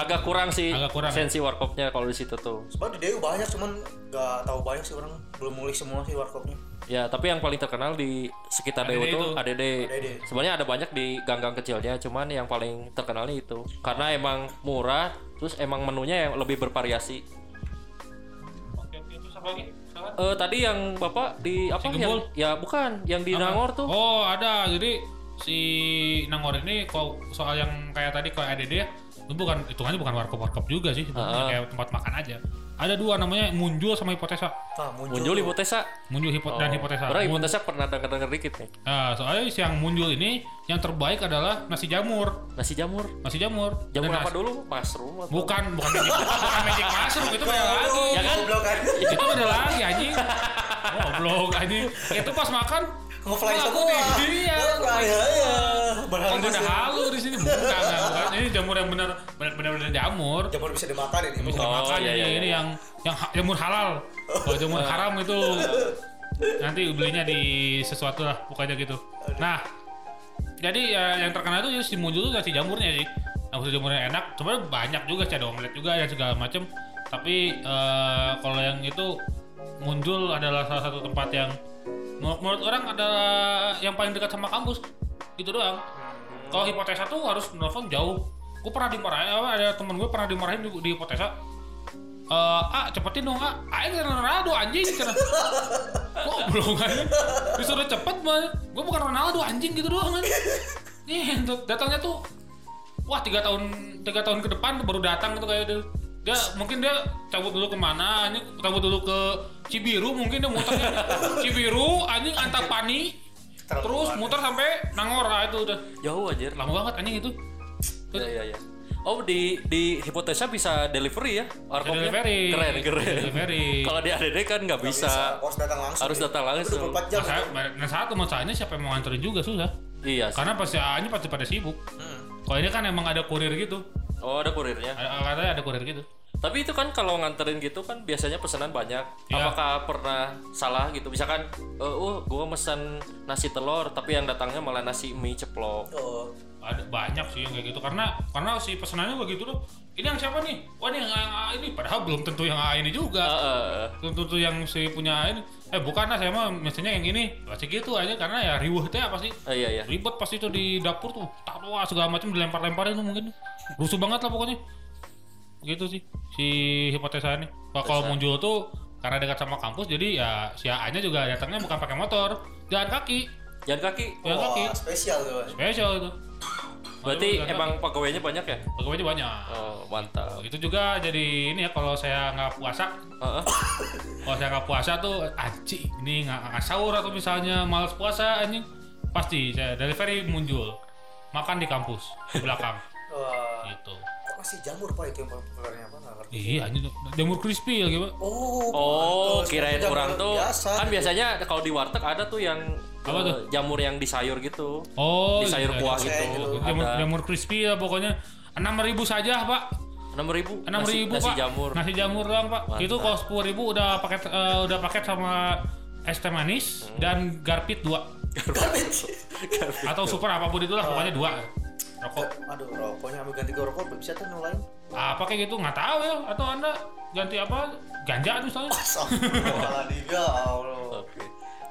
Speaker 1: agak kurang sih
Speaker 3: Oh. Agak kurang, ya?
Speaker 1: sensi warkopnya kalau di situ tuh.
Speaker 2: Sebab di DU banyak cuman nggak tahu banyak sih orang belum mulai semua sih warkopnya.
Speaker 1: Ya, tapi yang paling terkenal di sekitar
Speaker 3: ADD
Speaker 1: DW itu
Speaker 3: itu.
Speaker 1: ADD. Sebenarnya ada banyak di gang-gang kecilnya, cuman yang paling terkenalnya itu. Karena emang murah, terus emang menunya yang lebih bervariasi.
Speaker 3: oke oke terus apa lagi Salah?
Speaker 1: Eh tadi yang Bapak di apa
Speaker 3: Gembul?
Speaker 1: yang ya bukan, yang di Nangor tuh.
Speaker 3: Oh ada jadi si Nangor ini kalau soal yang kayak tadi kalau ADD ya itu bukan hitungannya bukan warkop warkop juga sih sebenarnya kayak tempat makan aja ada dua namanya muncul sama hipotesa
Speaker 2: Nah, muncul.
Speaker 1: Muncul hipotesa.
Speaker 3: muncul hipo- dan hipotesa
Speaker 1: Padahal
Speaker 3: Mun-
Speaker 1: Oh. hipotesa pernah dengar-dengar dikit nih.
Speaker 3: Nah, soalnya si yang muncul ini yang terbaik adalah nasi jamur
Speaker 1: Nasi jamur.
Speaker 3: nasi jamur Dan
Speaker 1: Jamur apa
Speaker 3: nasi-
Speaker 1: dulu? Mushroom atau?
Speaker 3: bukan bukan magic, bukan magic mushroom itu beda lagi
Speaker 2: Aduh,
Speaker 1: Ya kan?
Speaker 2: goblok kan?
Speaker 3: itu beda lagi anjing goblok anjing itu pas makan
Speaker 2: Ngefly
Speaker 3: aku
Speaker 2: semua.
Speaker 3: di- iya
Speaker 2: Ngefly, ya, ya.
Speaker 3: Kan
Speaker 2: Berhalus.
Speaker 3: pada halu di sini bukan, bukan, bukan. Ini jamur yang benar benar benar benar jamur.
Speaker 2: Jamur bisa dimakan ini.
Speaker 3: Bisa
Speaker 1: Oh,
Speaker 3: dimakan
Speaker 1: iya,
Speaker 3: ini,
Speaker 1: iya,
Speaker 3: ini
Speaker 1: iya.
Speaker 3: yang yang ha- jamur halal. Kalau jamur haram itu nanti belinya di sesuatu lah pokoknya gitu. Nah, jadi ya, yang terkenal itu ya si muncul tuh nasi jamurnya sih. Nah, usus jamurnya enak, sebenarnya banyak juga sih ada omelet juga dan segala macam. Tapi eh, kalau yang itu muncul adalah salah satu tempat yang menur- menurut orang adalah yang paling dekat sama kampus gitu doang. Kalau hipotesa tuh harus nelfon jauh. Gue pernah dimarahin, apa, ada temen gue pernah dimarahin di, di hipotesa. Eh, ah cepetin dong ah, aing karena Ronaldo anjing karena kok kan? belum aja disuruh cepet mah gue bukan Ronaldo anjing gitu doang kan nih untuk datangnya tuh wah tiga tahun tiga tahun ke depan baru datang gitu kayak dia- dia mungkin dia cabut dulu kemana anjing cabut dulu ke Cibiru mungkin dia muternya Cibiru anjing Antapani
Speaker 2: Terlalu
Speaker 3: terus
Speaker 2: luar.
Speaker 3: muter sampai Nangor lah itu udah
Speaker 1: Jauh anjir.
Speaker 3: lama banget anjing itu
Speaker 1: Iya, iya, iya. Oh di di hipotesa bisa delivery ya? Warkopnya?
Speaker 3: delivery.
Speaker 1: Keren, keren.
Speaker 3: Delivery.
Speaker 1: Kalau di ADD kan nggak bisa.
Speaker 2: Harus datang langsung.
Speaker 1: Harus datang langsung.
Speaker 2: 24 jam.
Speaker 3: nah, saya, nah satu masalahnya siapa yang mau nganterin juga susah
Speaker 1: Iya. sih.
Speaker 3: karena pasti aja pasti pada sibuk kalau ini kan emang ada kurir gitu
Speaker 1: Oh ada kurirnya.
Speaker 3: ada, katanya ada kurir gitu
Speaker 1: Tapi itu kan kalau nganterin gitu kan biasanya pesanan banyak.
Speaker 3: Iya.
Speaker 1: Apakah pernah salah gitu? Misalkan, eh, uh, gua mesen nasi telur, tapi yang datangnya malah nasi mie ceplok.
Speaker 2: Oh,
Speaker 3: ada banyak sih yang kayak gitu karena karena si pesenannya begitu loh ini yang siapa nih wah ini yang, yang A ini padahal belum tentu yang A
Speaker 1: Eh,
Speaker 3: ini juga
Speaker 1: eh, eh.
Speaker 3: belum tentu yang si punya A ini eh bukan lah saya mah misalnya yang ini pasti gitu aja karena ya riuh teh apa sih
Speaker 1: Eh, iya iya.
Speaker 3: ribet pasti itu di dapur tuh tawa segala macam dilempar-lemparin tuh mungkin rusuh banget lah pokoknya gitu sih si hipotesa ini Kalau- kalau muncul tuh karena dekat sama kampus jadi ya si AA nya juga datangnya bukan pakai motor jalan kaki
Speaker 1: Jalan kaki.
Speaker 3: jalan
Speaker 2: Wah,
Speaker 3: kaki
Speaker 2: spesial tuh.
Speaker 3: spesial itu
Speaker 1: Berarti
Speaker 3: Oh, Jalan kaki. iya.
Speaker 1: emang pegawainya banyak ya?
Speaker 3: pegawainya banyak
Speaker 1: Oh mantap.
Speaker 3: itu juga jadi ini ya kalau saya nggak puasa
Speaker 1: Heeh.
Speaker 3: kalau saya nggak puasa tuh anjing ini nggak nggak sahur atau misalnya malas puasa anjing pasti saya delivery muncul makan di kampus di belakang
Speaker 2: Wah,
Speaker 3: gitu
Speaker 2: kok nasi jamur pak itu yang paling populernya apa nggak ngerti.
Speaker 3: iya anjing jamur crispy lagi pak
Speaker 2: Oh,
Speaker 1: Oh
Speaker 2: pantes.
Speaker 1: kirain
Speaker 2: Jamur
Speaker 1: orang tuh.
Speaker 2: biasa. gitu.
Speaker 1: Kan biasanya kalau di warteg ada tuh yang
Speaker 3: Apa
Speaker 1: eh,
Speaker 3: tuh?
Speaker 1: jamur yang di sayur gitu.
Speaker 3: oh
Speaker 1: di sayur
Speaker 3: iya,
Speaker 1: kuah
Speaker 3: iya.
Speaker 2: Saya
Speaker 1: gitu.
Speaker 2: gitu.
Speaker 3: jamur,
Speaker 1: Ada.
Speaker 3: jamur crispy ya pokoknya enam ribu saja pak
Speaker 1: enam ribu.
Speaker 3: enam
Speaker 1: Nasi-
Speaker 3: ribu
Speaker 1: Nasi
Speaker 3: pak
Speaker 1: jamur.
Speaker 3: nasi jamur doang pak
Speaker 1: Mantap.
Speaker 3: itu kalau sepuluh ribu udah paket eh, udah paket sama es teh
Speaker 1: Hmm.
Speaker 3: manis dan garpit dua
Speaker 2: Garbage.
Speaker 1: Gitu.
Speaker 3: atau super apapun itulah pokoknya dua rokok
Speaker 2: Aduh, rokoknya ambil ganti ke rokok bisa tuh yang lain.
Speaker 3: apa kayak gitu nggak tahu ya atau
Speaker 1: Gitu.
Speaker 3: anda ganti apa ganja misalnya
Speaker 2: Soalnya di ya Allah.
Speaker 1: Oke.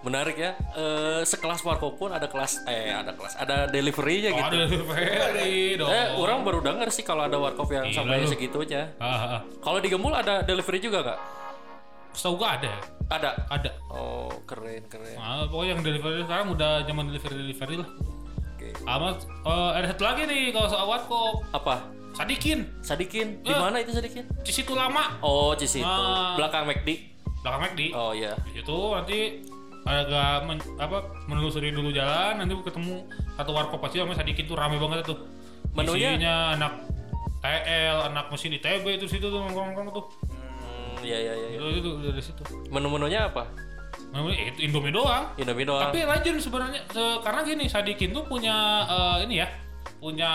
Speaker 1: menarik ya. Eh, sekelas warkop pun ada kelas eh ada kelas ada deliverynya gitu.
Speaker 3: Aduh, Ferry dong.
Speaker 1: Eh, orang baru dengar sih kalau ada warkop yang
Speaker 3: Gila
Speaker 1: sampai
Speaker 3: lu.
Speaker 1: segitunya.
Speaker 3: Ah, ah.
Speaker 1: Kalau di Gembul ada delivery juga nggak?
Speaker 3: Setahu gua ada, ya?
Speaker 1: Ada.
Speaker 3: ada.
Speaker 1: Oh, keren keren.
Speaker 3: Nah, pokoknya yang delivery sekarang udah zaman delivery delivery lah.
Speaker 1: Oke.
Speaker 3: Sama eh, ada satu lagi nih kalau soal warkop,
Speaker 1: Apa?
Speaker 3: Sadikin,
Speaker 1: Sadikin? Di
Speaker 3: Eh.
Speaker 1: mana itu Sadikin?
Speaker 3: di situ lama,
Speaker 1: Oh, di situ.
Speaker 3: Ah.
Speaker 1: Belakang McD.
Speaker 3: belakang McD.
Speaker 1: Oh iya.
Speaker 3: Di situ nanti agak men, apa menelusuri dulu jalan nanti ketemu satu warkop pasti namanya Sadikin tuh rame banget tuh
Speaker 1: Menunya?
Speaker 3: isinya anak TL anak mesin ITB itu situ tuh nongkrong-nongkrong tuh
Speaker 1: Hmm, iya iya iya.
Speaker 3: itu itu dari situ
Speaker 1: Menu-menunya apa?
Speaker 3: Namanya- eh, itu Indomie doang
Speaker 1: Indomie doang.
Speaker 3: tapi rajin sebenarnya Se- karena gini Sadikin tuh punya eh, ini ya punya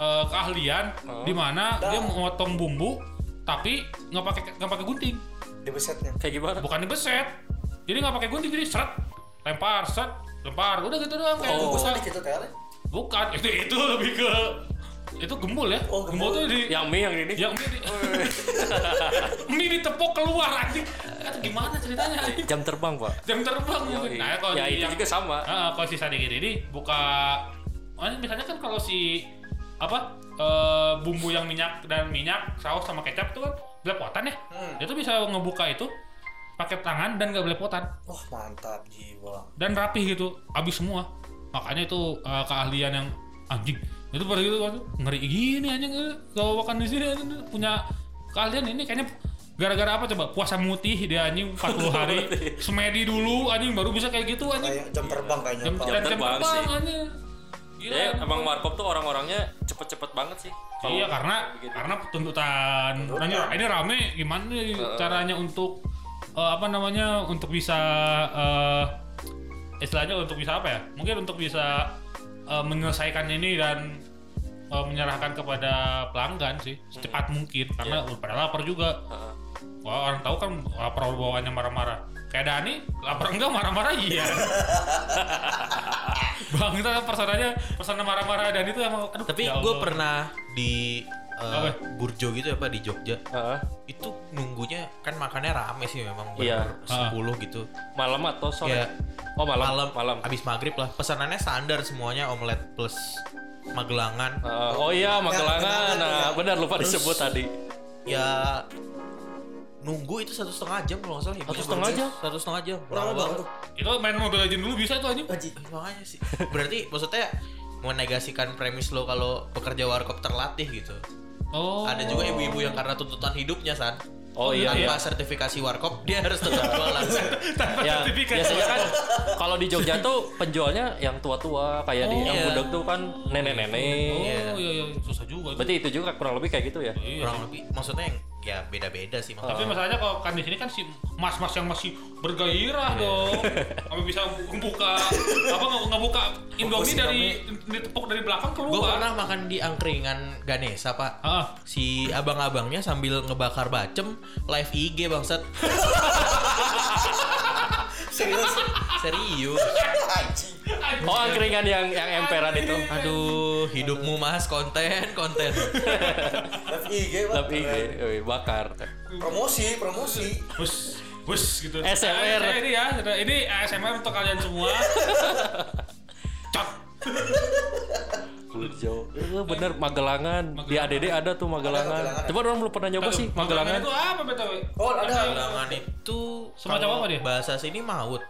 Speaker 3: eh, keahlian
Speaker 1: Oh.
Speaker 3: di mana dia memotong bumbu tapi nggak pakai nggak pakai gunting
Speaker 2: di besetnya
Speaker 1: Kayak gimana?
Speaker 3: bukan dibeset jadi nggak pakai gunting jadi seret lempar seret lempar udah gitu doang kayak
Speaker 1: Oh.
Speaker 3: bukan,
Speaker 2: Buset gitu teh Ale.
Speaker 3: bukan itu itu lebih ke itu gembul ya
Speaker 2: Oh,
Speaker 3: gembul. tuh
Speaker 2: gembul.
Speaker 3: di
Speaker 1: Yang mie yang ini.
Speaker 3: yang mie di, mie ditepok keluar anjing Atau gimana ceritanya anjing?
Speaker 1: Jam terbang, Pak.
Speaker 3: jam terbang gitu
Speaker 1: Yoi.
Speaker 3: nah kalau
Speaker 1: ya
Speaker 3: di
Speaker 1: itu
Speaker 3: yang-
Speaker 1: juga sama.
Speaker 3: Ah, kalau si Sadikin ini buka oh, ini biasanya kan kalau si apa eh, bumbu yang minyak dan minyak saus sama kecap tuh kan belepotan ya
Speaker 2: Hmm.
Speaker 3: dia tuh bisa ngebuka itu pakai tangan dan nggak belepotan
Speaker 2: wah mantap jiwa
Speaker 3: dan rapih gitu habis semua makanya itu eh, keahlian yang anjing itu pada gitu waktu ngeri gini anjing eh, kalau makan di sini anjing, punya keahlian ini kayaknya gara-gara apa coba puasa mutih dia anjing 40 hari semedi dulu anjing baru bisa kayak gitu anjing
Speaker 2: kayak jam terbang kayaknya
Speaker 3: jam,
Speaker 2: Pak.
Speaker 3: jam, jam terbang,
Speaker 1: terbang sih.
Speaker 3: anjing Gila,
Speaker 1: Ya,
Speaker 3: anjing.
Speaker 1: emang warkop tuh orang-orangnya cepet-cepet banget sih. Kalau- gitu.
Speaker 3: iya karena karena tuntutan ini, ini rame gimana nih caranya untuk eh, apa namanya untuk bisa eh, istilahnya untuk bisa apa ya mungkin untuk bisa eh, menyelesaikan ini dan eh, menyerahkan kepada pelanggan sih secepat mungkin karena pada lapar juga
Speaker 1: Hmm. Iya. Heeh.
Speaker 3: Wah, orang tahu kan lapar bawaannya marah-marah. Kayak Dani, lapar enggak marah-marah iya. Bang, kita personanya, persona marah-marah Dani itu emang aduh.
Speaker 4: Tapi
Speaker 3: ya
Speaker 4: gue
Speaker 3: Allah.
Speaker 4: pernah di
Speaker 3: Apa?
Speaker 4: eh, Burjo gitu ya Pak di Jogja.
Speaker 1: Heeh.
Speaker 4: Itu nunggunya kan makannya rame sih memang
Speaker 1: Iya.
Speaker 4: bener
Speaker 3: Ah.
Speaker 4: 10 gitu.
Speaker 1: malam atau sore?
Speaker 4: Iya.
Speaker 1: Oh, malam.
Speaker 4: Malam, malam abis maghrib lah. Pesanannya standar semuanya omelet plus magelangan.
Speaker 1: Heeh. oh iya, Magelangan.
Speaker 2: Magelangan,
Speaker 1: Nah,
Speaker 2: iya.
Speaker 1: benar lupa
Speaker 4: Terus-
Speaker 1: disebut tadi.
Speaker 4: Ya nunggu itu satu setengah jam kalau nggak salah ya.
Speaker 1: Satu setengah
Speaker 4: Burjo.
Speaker 1: jam?
Speaker 4: Satu setengah jam.
Speaker 2: Lama banget tuh.
Speaker 3: Itu main Mobile Legends dulu bisa tuh anjing.
Speaker 2: Haji.
Speaker 4: Ih, makanya sih. Berarti maksudnya menegasikan premis lo kalau pekerja warkop terlatih gitu.
Speaker 3: Oh.
Speaker 4: Ada juga ibu-ibu yang karena tuntutan hidupnya san.
Speaker 1: Oh iya iya.
Speaker 4: Tanpa sertifikasi warkop dia harus tetap jualan. San.
Speaker 1: Ya,
Speaker 3: sertifikat.
Speaker 1: biasanya kan kalau di Jogja tuh penjualnya yang tua-tua kayak di
Speaker 4: Oh,
Speaker 1: yang
Speaker 4: iya.
Speaker 1: budeg tuh kan
Speaker 3: Oh,
Speaker 1: nenek-nenek.
Speaker 3: iya iya susah juga.
Speaker 1: Berarti itu juga kurang lebih kayak gitu ya.
Speaker 3: Iya.
Speaker 4: kurang lebih maksudnya yang ya beda-beda sih maksudnya.
Speaker 3: Tapi masalahnya kalau kan di sini kan si mas-mas yang masih bergairah dong. Sampai bisa buka apa nggak nggak buka Indomie dari ditepok dari belakang
Speaker 1: Oh.
Speaker 4: Gue
Speaker 3: keluar.
Speaker 4: pernah makan di angkringan Ganesa pak.
Speaker 3: Heeh.
Speaker 4: Si abang-abangnya sambil ngebakar bacem live IG bangsat.
Speaker 2: serius
Speaker 4: Serius.
Speaker 2: Haji.
Speaker 1: Oh, angkringan yang yang emperan itu.
Speaker 4: Aduh, hidupmu mas konten konten.
Speaker 2: Live IG Pak.
Speaker 1: Tapi eh, bakar.
Speaker 2: promosi promosi
Speaker 3: Bus, bus gitu.
Speaker 1: ASMR.
Speaker 3: Nah, ini ya, ini ASMR untuk kalian semua. Cok.
Speaker 1: Burjo. Eh, bener Magelangan. Di ADD ada tuh Magelangan.
Speaker 2: Magelangan,
Speaker 1: Coba orang belum pernah nyoba sih Magelangan.
Speaker 3: itu apa BTW?
Speaker 2: oh ada
Speaker 4: Bilangan itu
Speaker 3: Semacam
Speaker 4: kalau
Speaker 3: apa dia?
Speaker 4: Bahasa sini maut.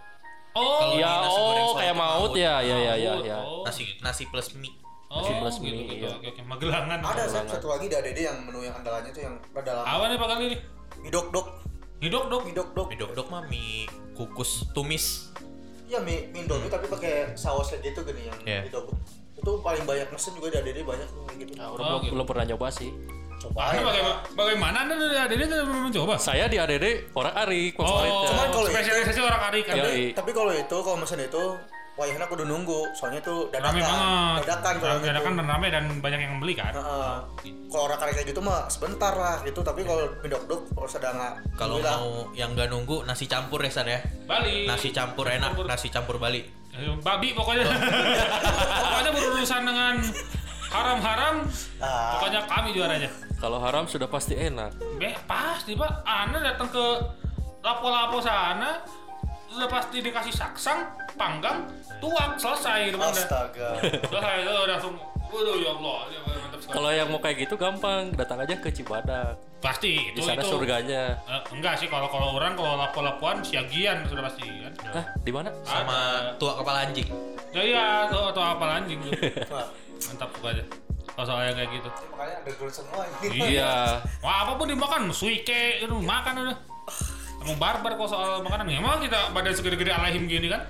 Speaker 3: Oh,
Speaker 4: Kalau
Speaker 1: Ya,
Speaker 4: di nasi goreng
Speaker 1: oh
Speaker 4: selalu
Speaker 1: kayak
Speaker 4: itu
Speaker 1: maut
Speaker 4: maut.
Speaker 1: ya, ya, ya, ya, ya.
Speaker 3: Oh,
Speaker 4: Nasi nasi plus mie.
Speaker 3: oh,
Speaker 1: nasi plus
Speaker 3: gitu,
Speaker 1: mie,
Speaker 3: gitu.
Speaker 1: iya.
Speaker 3: Oke, oke. Magelangan.
Speaker 2: ada Sat, satu lagi dari Dede yang menu yang andalannya tuh yang rada lama
Speaker 3: Apa nih Pak kali ini?
Speaker 2: midok dok
Speaker 3: Hidok dok.
Speaker 2: midok dok
Speaker 4: Mie dok-dok mah mie kukus tumis.
Speaker 2: ya mie mie Indomie
Speaker 3: Hmm.
Speaker 2: tapi pakai sausnya gitu gini yang
Speaker 4: Iya.
Speaker 2: midok itu paling banyak mesen juga dari Dede banyak tuh kayak gitu
Speaker 1: Nah, orang belum,
Speaker 3: gitu.
Speaker 1: belum pernah nyoba sih.
Speaker 2: coba
Speaker 3: Ini bagaimana, bagaimana Anda dari ADD tidak belum mencoba?
Speaker 1: Saya di ADD orang Ari
Speaker 3: Oh,
Speaker 1: favoritnya.
Speaker 2: Cuman kalau itu-
Speaker 3: spesialisasi orang kari kan.
Speaker 1: Iya.
Speaker 2: tapi, tapi kalau itu kalau mesen itu wayahnya kudu nunggu soalnya itu dadakan
Speaker 3: Rame banget.
Speaker 2: dadakan kalau
Speaker 3: Rame- Dadakan dan rame dan banyak yang beli kan.
Speaker 2: Heeh. kalau orang kayak gitu mah sebentar lah gitu tapi kalau
Speaker 3: Iya.
Speaker 2: midok dok kalau sedang nggak
Speaker 4: Kalau
Speaker 2: nungguin lah.
Speaker 4: mau yang nggak nunggu nasi campur ya san ya.
Speaker 3: Bali.
Speaker 4: Nasi campur enak,
Speaker 3: Campur.
Speaker 4: nasi campur Bali.
Speaker 3: Eh, babi pokoknya. pokoknya berurusan dengan haram-haram.
Speaker 2: Ah.
Speaker 3: Pokoknya kami juaranya.
Speaker 1: Kalau haram sudah pasti enak.
Speaker 3: Be, pasti pak. Ana datang ke lapo-lapo sana udah pasti dikasih saksang, panggang, tuang, selesai gitu kan udah.
Speaker 2: Astaga.
Speaker 3: Selesai itu udah langsung Waduh ya Allah, ya Allah, mantap sekali.
Speaker 1: Kalau yang mau kayak gitu gampang, datang aja ke Cibadak.
Speaker 3: pasti itu
Speaker 1: Di sana
Speaker 3: itu.
Speaker 1: surganya.
Speaker 3: Eh, enggak sih kalau kalau orang kalau lapo-lapuan siagian sudah pasti kan.
Speaker 1: Hah, di mana?
Speaker 4: sama tua kepala anjing.
Speaker 3: Ya iya atau atau apa anjing gitu.
Speaker 2: Wah,
Speaker 3: Mantap pokoknya. Kalau soal yang kayak gitu.
Speaker 2: makanya underground semua ini.
Speaker 1: Iya.
Speaker 3: Wah apapun dimakan, suike, itu makan udah. Emang barbar kok soal makanan. Emang kita badan segede-gede alaihim gini kan?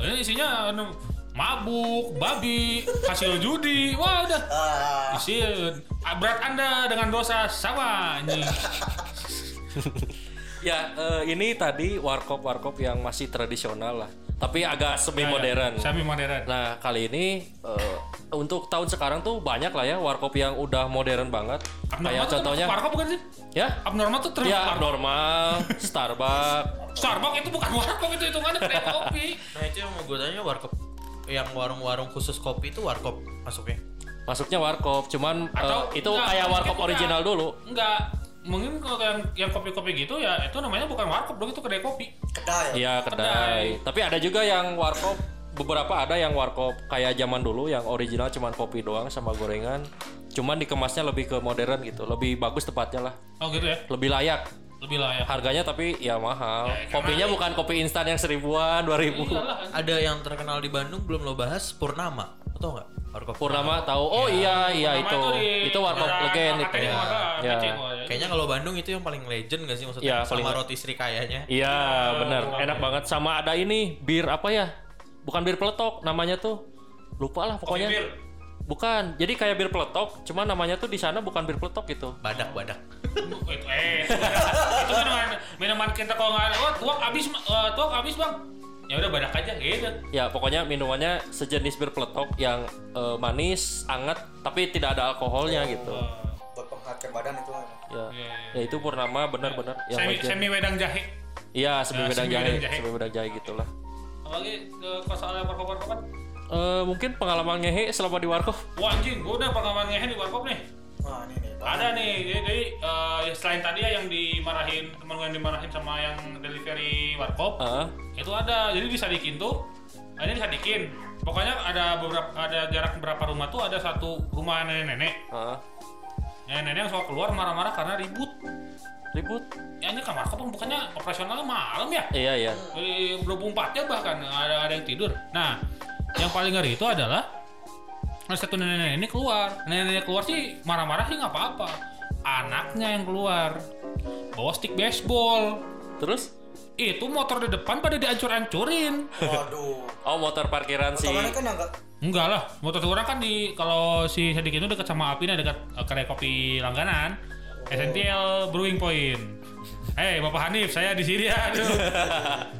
Speaker 3: Ini isinya anu, mabuk, babi, hasil judi. Wah udah.
Speaker 2: Ah,
Speaker 3: Isin. Ah, Berat Anda dengan dosa sama anjing.
Speaker 1: Ya, eh, ini tadi warkop-warkop yang masih tradisional lah, tapi agak
Speaker 3: Ya,
Speaker 1: semi modern.
Speaker 3: Sami modern.
Speaker 1: Nah, kali ini eh, untuk tahun sekarang tuh banyak lah ya warkop yang udah modern banget. Kayak contohnya
Speaker 3: tuh termasuk kan warkop bukan sih?
Speaker 1: ya,
Speaker 3: Abnormal tuh terus
Speaker 1: ya normal, Starbucks.
Speaker 3: Starbucks itu bukan warkop itu hitungannya kedai kopi.
Speaker 4: Nah itu yang mau gue tanya warkop yang warung-warung khusus kopi itu warkop masuknya.
Speaker 1: Masuknya warkop, cuman eh,
Speaker 3: Atau-
Speaker 1: itu
Speaker 3: enggak,
Speaker 1: kayak
Speaker 3: mungkin
Speaker 1: warkop
Speaker 3: enggak.
Speaker 1: original dulu.
Speaker 3: Enggak. Mungkin kalau yang yang kopi-kopi gitu ya itu namanya bukan warkop dong itu kedai kopi.
Speaker 2: kedai.
Speaker 1: Iya, kedai. Tapi ada juga yang warkop beberapa ada yang warkop kayak zaman dulu yang original cuman kopi doang sama gorengan. Cuman dikemasnya lebih ke modern gitu, lebih bagus tepatnya lah,
Speaker 3: Oh gitu ya.
Speaker 1: lebih layak.
Speaker 3: Lebih layak.
Speaker 1: Harganya tapi ya mahal.
Speaker 3: Ya, Iya. karena-
Speaker 1: Kopinya bukan kopi instan yang seribuan, dua ribu.
Speaker 3: Iyalah.
Speaker 4: Ada yang terkenal di Bandung belum lo bahas Purnama, lo tau nggak? Warkop.
Speaker 1: Purnama tahu. Oh iya iya
Speaker 3: Nama
Speaker 1: itu.
Speaker 3: di-
Speaker 1: Itu warkop
Speaker 3: daerah
Speaker 1: legend itu.
Speaker 3: KKTN,
Speaker 1: Ya.
Speaker 3: warga
Speaker 1: Ya.
Speaker 3: kecil, warga.
Speaker 4: Kayaknya kalau Bandung itu yang paling legend gak sih
Speaker 1: Iya,
Speaker 4: maksudnya
Speaker 1: paling-
Speaker 4: sama roti Sri kayaknya.
Speaker 1: Iya, benar. Enak banget sama ada ini bir apa ya? Bukan bir peletok namanya tuh. Lupa lah pokoknya.
Speaker 3: bir.
Speaker 1: Bukan. Jadi kayak bir peletok, cuman namanya tuh di sana bukan bir peletok gitu.
Speaker 4: Badak-badak.
Speaker 3: Oh, itu- Eh, itu minuman minuman kita kalau nggak ada, oh, tuang habis, Ma- eh, tuang habis bang. Ya udah badak aja gitu.
Speaker 1: Ya, pokoknya minumannya sejenis bir peletok yang eh, manis, anget, tapi tidak ada alkoholnya gitu.
Speaker 2: Buat penghantar badan itu.
Speaker 1: Ya.
Speaker 3: Iya, iya,
Speaker 1: Ya itu Purnama benar-benar yang
Speaker 3: Semi,
Speaker 1: legend.
Speaker 3: semi wedang jahe.
Speaker 1: Iya, semi
Speaker 3: Ya,
Speaker 1: bedang
Speaker 3: semi
Speaker 1: jahe,
Speaker 3: bedang jahe.
Speaker 1: semi bedang jahe gitulah.
Speaker 3: Apalagi ke ke soal warkop-warkopan.
Speaker 1: Eh mungkin pengalaman ngehe selama di warkop.
Speaker 3: Wah anjing, gua udah pengalaman ngehe di warkop nih.
Speaker 2: Wah, ini nih. Bang.
Speaker 3: Ada nih, jadi, jadi, eh, ya selain tadi ya yang dimarahin temen gue yang dimarahin sama yang delivery warkop,
Speaker 1: Heeh.
Speaker 3: itu ada. Jadi disadikin tuh, akhirnya disadikin. Pokoknya ada beberapa ada jarak beberapa rumah tuh ada satu rumah nenek-nenek.
Speaker 1: Heeh.
Speaker 3: Nenek-nenek yang suka keluar marah-marah karena ribut.
Speaker 1: Ribut.
Speaker 3: Ya ini kamar warkop kan bukannya operasionalnya malam ya?
Speaker 1: Iya, iya.
Speaker 3: Dari 24 jam bahkan ada ada yang tidur. Nah, yang paling ngeri itu adalah ada satu nenek ini keluar. Nenek keluar sih marah-marah sih nggak apa-apa. Anaknya yang keluar bawa stick baseball.
Speaker 1: Terus
Speaker 3: Itu motor di depan pada diancur-ancurin.
Speaker 2: Waduh.
Speaker 1: Oh motor parkiran sih.
Speaker 2: Kemarin kan enggak
Speaker 3: Enggak lah, motor orang kan di kalau si Sadik itu dekat sama Apina dekat eh, kedai kopi langganan. SNTL Brewing Point. Hei Bapak Hanif, saya di sini ya. aduh.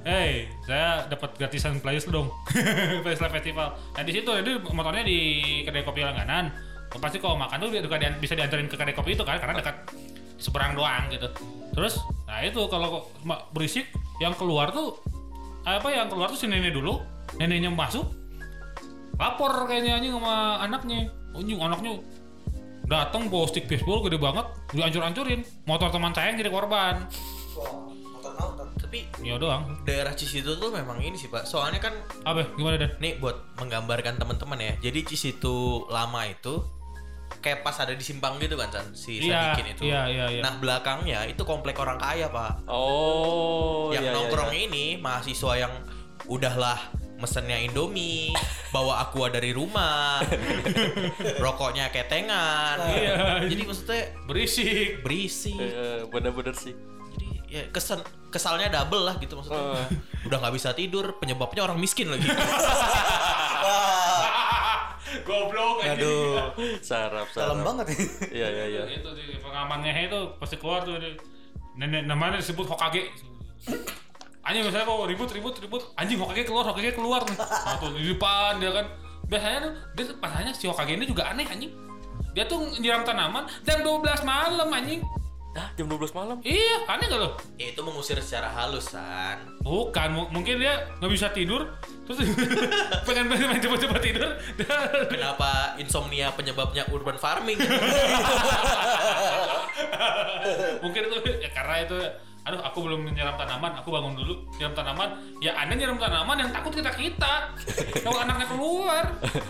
Speaker 3: Hei, saya dapat gratisan Playus dong. Playus Live Festival. Nah di situ jadi motornya di kedai kopi langganan. Pasti kalau makan tuh dia juga dian- bisa diantarin ke kedai kopi itu kan karena dekat seberang doang gitu. Terus, nah itu kalau ma- berisik yang keluar tuh apa yang keluar tuh si nenek dulu, neneknya masuk, lapor kayaknya anjing sama anaknya anjing anaknya datang bawa stick baseball gede banget dihancur-hancurin motor teman saya yang jadi korban
Speaker 2: wah, nonton nonton.
Speaker 4: Tapi
Speaker 3: ya doang
Speaker 4: daerah Cisitu tuh memang ini sih pak. Soalnya kan
Speaker 3: apa gimana dan
Speaker 4: Nih buat menggambarkan teman-teman ya. Jadi Cisitu lama itu kayak pas ada di simpang gitu kan Chan, si
Speaker 3: Iya,
Speaker 4: Sadikin itu.
Speaker 3: iya, iya, iya.
Speaker 4: Nah, belakangnya itu komplek orang kaya, Pak.
Speaker 1: Oh
Speaker 4: yang
Speaker 1: iya, iya,
Speaker 4: nongkrong
Speaker 1: iya.
Speaker 4: ini mahasiswa yang udahlah mesennya Indomie, bawa aqua dari rumah, rokoknya ketengan.
Speaker 3: Iya.
Speaker 4: Jadi maksudnya
Speaker 3: berisik
Speaker 4: berisi.
Speaker 1: Eh, bener-bener sih.
Speaker 4: Jadi ya kesen kesalnya double lah gitu
Speaker 1: Oh,
Speaker 4: maksudnya. Udah nggak bisa tidur, penyebabnya orang miskin lagi.
Speaker 3: goblok anjing.
Speaker 2: Aduh,
Speaker 1: Sarap sarap.
Speaker 2: dalam banget Oh, ini.
Speaker 1: Iya iya iya.
Speaker 3: itu sih pengamannya itu pasti keluar tuh dia. nenek namanya disebut Hokage anjing misalnya kok ribut ribut ribut anjing Hokage keluar Hokage keluar nih nah, tuh di depan dia kan biasanya tuh dia tuh pasalnya si Hokage ini juga aneh anjing dia tuh nyiram tanaman jam 12 malam anjing
Speaker 1: Hah, jam 12 malam.
Speaker 3: iya aneh gak lo
Speaker 4: ya itu mengusir secara halus kan.
Speaker 3: Bukan, mu- mungkin dia nggak bisa tidur, terus pengen pengen coba-coba tidur.
Speaker 4: Kenapa insomnia penyebabnya urban Iya kan? farming?
Speaker 3: mungkin itu ya karena itu aduh aku belum nyiram tanaman aku bangun dulu nyiram tanaman ya anda nyiram tanaman yang takut kita kita kalau anaknya keluar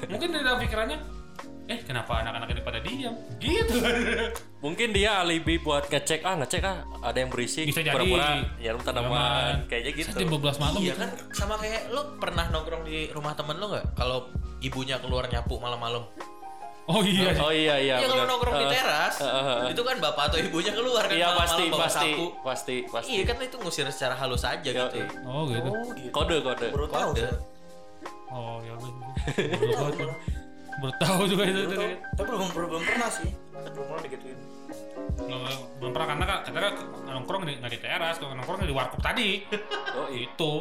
Speaker 3: mungkin di dalam pikirannya eh kenapa anak-anak ini pada diam gitu
Speaker 1: Mungkin dia alibi buat ngecek ah ngecek ah ada yang berisik
Speaker 3: Bisa jadi.
Speaker 1: pura-pura nyiram
Speaker 3: Tanaman.
Speaker 1: tanaman kayaknya gitu.
Speaker 3: Saya jam 12 malam
Speaker 4: Iya
Speaker 3: gitu.
Speaker 4: kan sama kayak lo pernah nongkrong di rumah temen lo nggak? Kalau ibunya keluar nyapu malam-malam.
Speaker 3: oh iya
Speaker 1: Oh iya iya.
Speaker 4: Iya kalau
Speaker 1: benar.
Speaker 4: nongkrong di
Speaker 1: Eh,
Speaker 4: teras,
Speaker 1: eh, eh, eh.
Speaker 4: itu kan bapak atau ibunya keluar kan
Speaker 1: Iya
Speaker 4: malam-malam
Speaker 1: pasti
Speaker 4: bawa
Speaker 1: pasti
Speaker 4: sapu.
Speaker 1: pasti pasti.
Speaker 4: Iya kan itu ngusir secara halus aja
Speaker 1: Yo,
Speaker 4: gitu.
Speaker 1: iya.
Speaker 3: oh gitu
Speaker 2: Oh, gitu.
Speaker 1: Kode kode.
Speaker 2: Baru tahu.
Speaker 4: Kode.
Speaker 2: saya.
Speaker 3: oh ya udah bertahu juga itu
Speaker 2: Baru
Speaker 3: itu,
Speaker 2: tahu.
Speaker 3: itu.
Speaker 2: Tapi belum belum pernah sih. Belum pernah digituin.
Speaker 3: Nggak- belum pernah karena kan kita kan nongkrong di nggak di teras kalau nongkrong di warkop tadi
Speaker 1: Oh iya.
Speaker 3: itu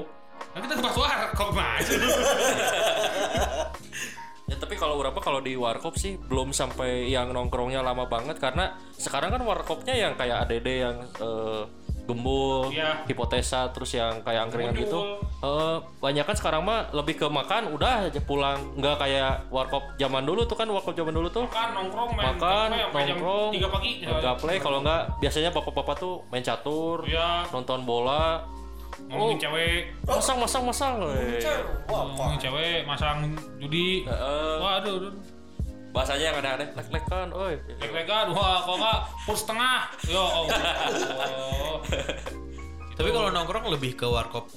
Speaker 3: kan kita ke pas warkop mas
Speaker 1: Ya, tapi kalau berapa kalau di warkop sih belum sampai yang nongkrongnya lama banget karena sekarang kan warkopnya yang kayak ADD yang eh, gembul,
Speaker 3: Iya.
Speaker 1: hipotesa terus yang kayak angkringan
Speaker 3: Gundul.
Speaker 1: gitu. Eh banyak kan sekarang mah lebih ke makan udah aja pulang nggak kayak warkop zaman dulu tuh kan warkop zaman dulu tuh
Speaker 3: makan nongkrong main
Speaker 1: makan
Speaker 3: gaple sampai jam
Speaker 1: nongkrong
Speaker 3: 3 pagi ya.
Speaker 1: main gaple. kalau nggak biasanya bapak-bapak tuh main catur
Speaker 3: Iya.
Speaker 1: nonton bola
Speaker 3: ngomongin
Speaker 1: Oh.
Speaker 3: cewek
Speaker 1: masang masang masang eh.
Speaker 2: Iya, Wah,
Speaker 3: ngomongin Hmm, cewek masang judi
Speaker 1: Heeh.
Speaker 3: waduh aduh.
Speaker 1: bahasanya yang aneh-aneh lek-lekan oi
Speaker 3: leg-legan wah kalau nggak pur setengah oh. ya Allah
Speaker 4: Tapi kalau nongkrong lebih ke warkop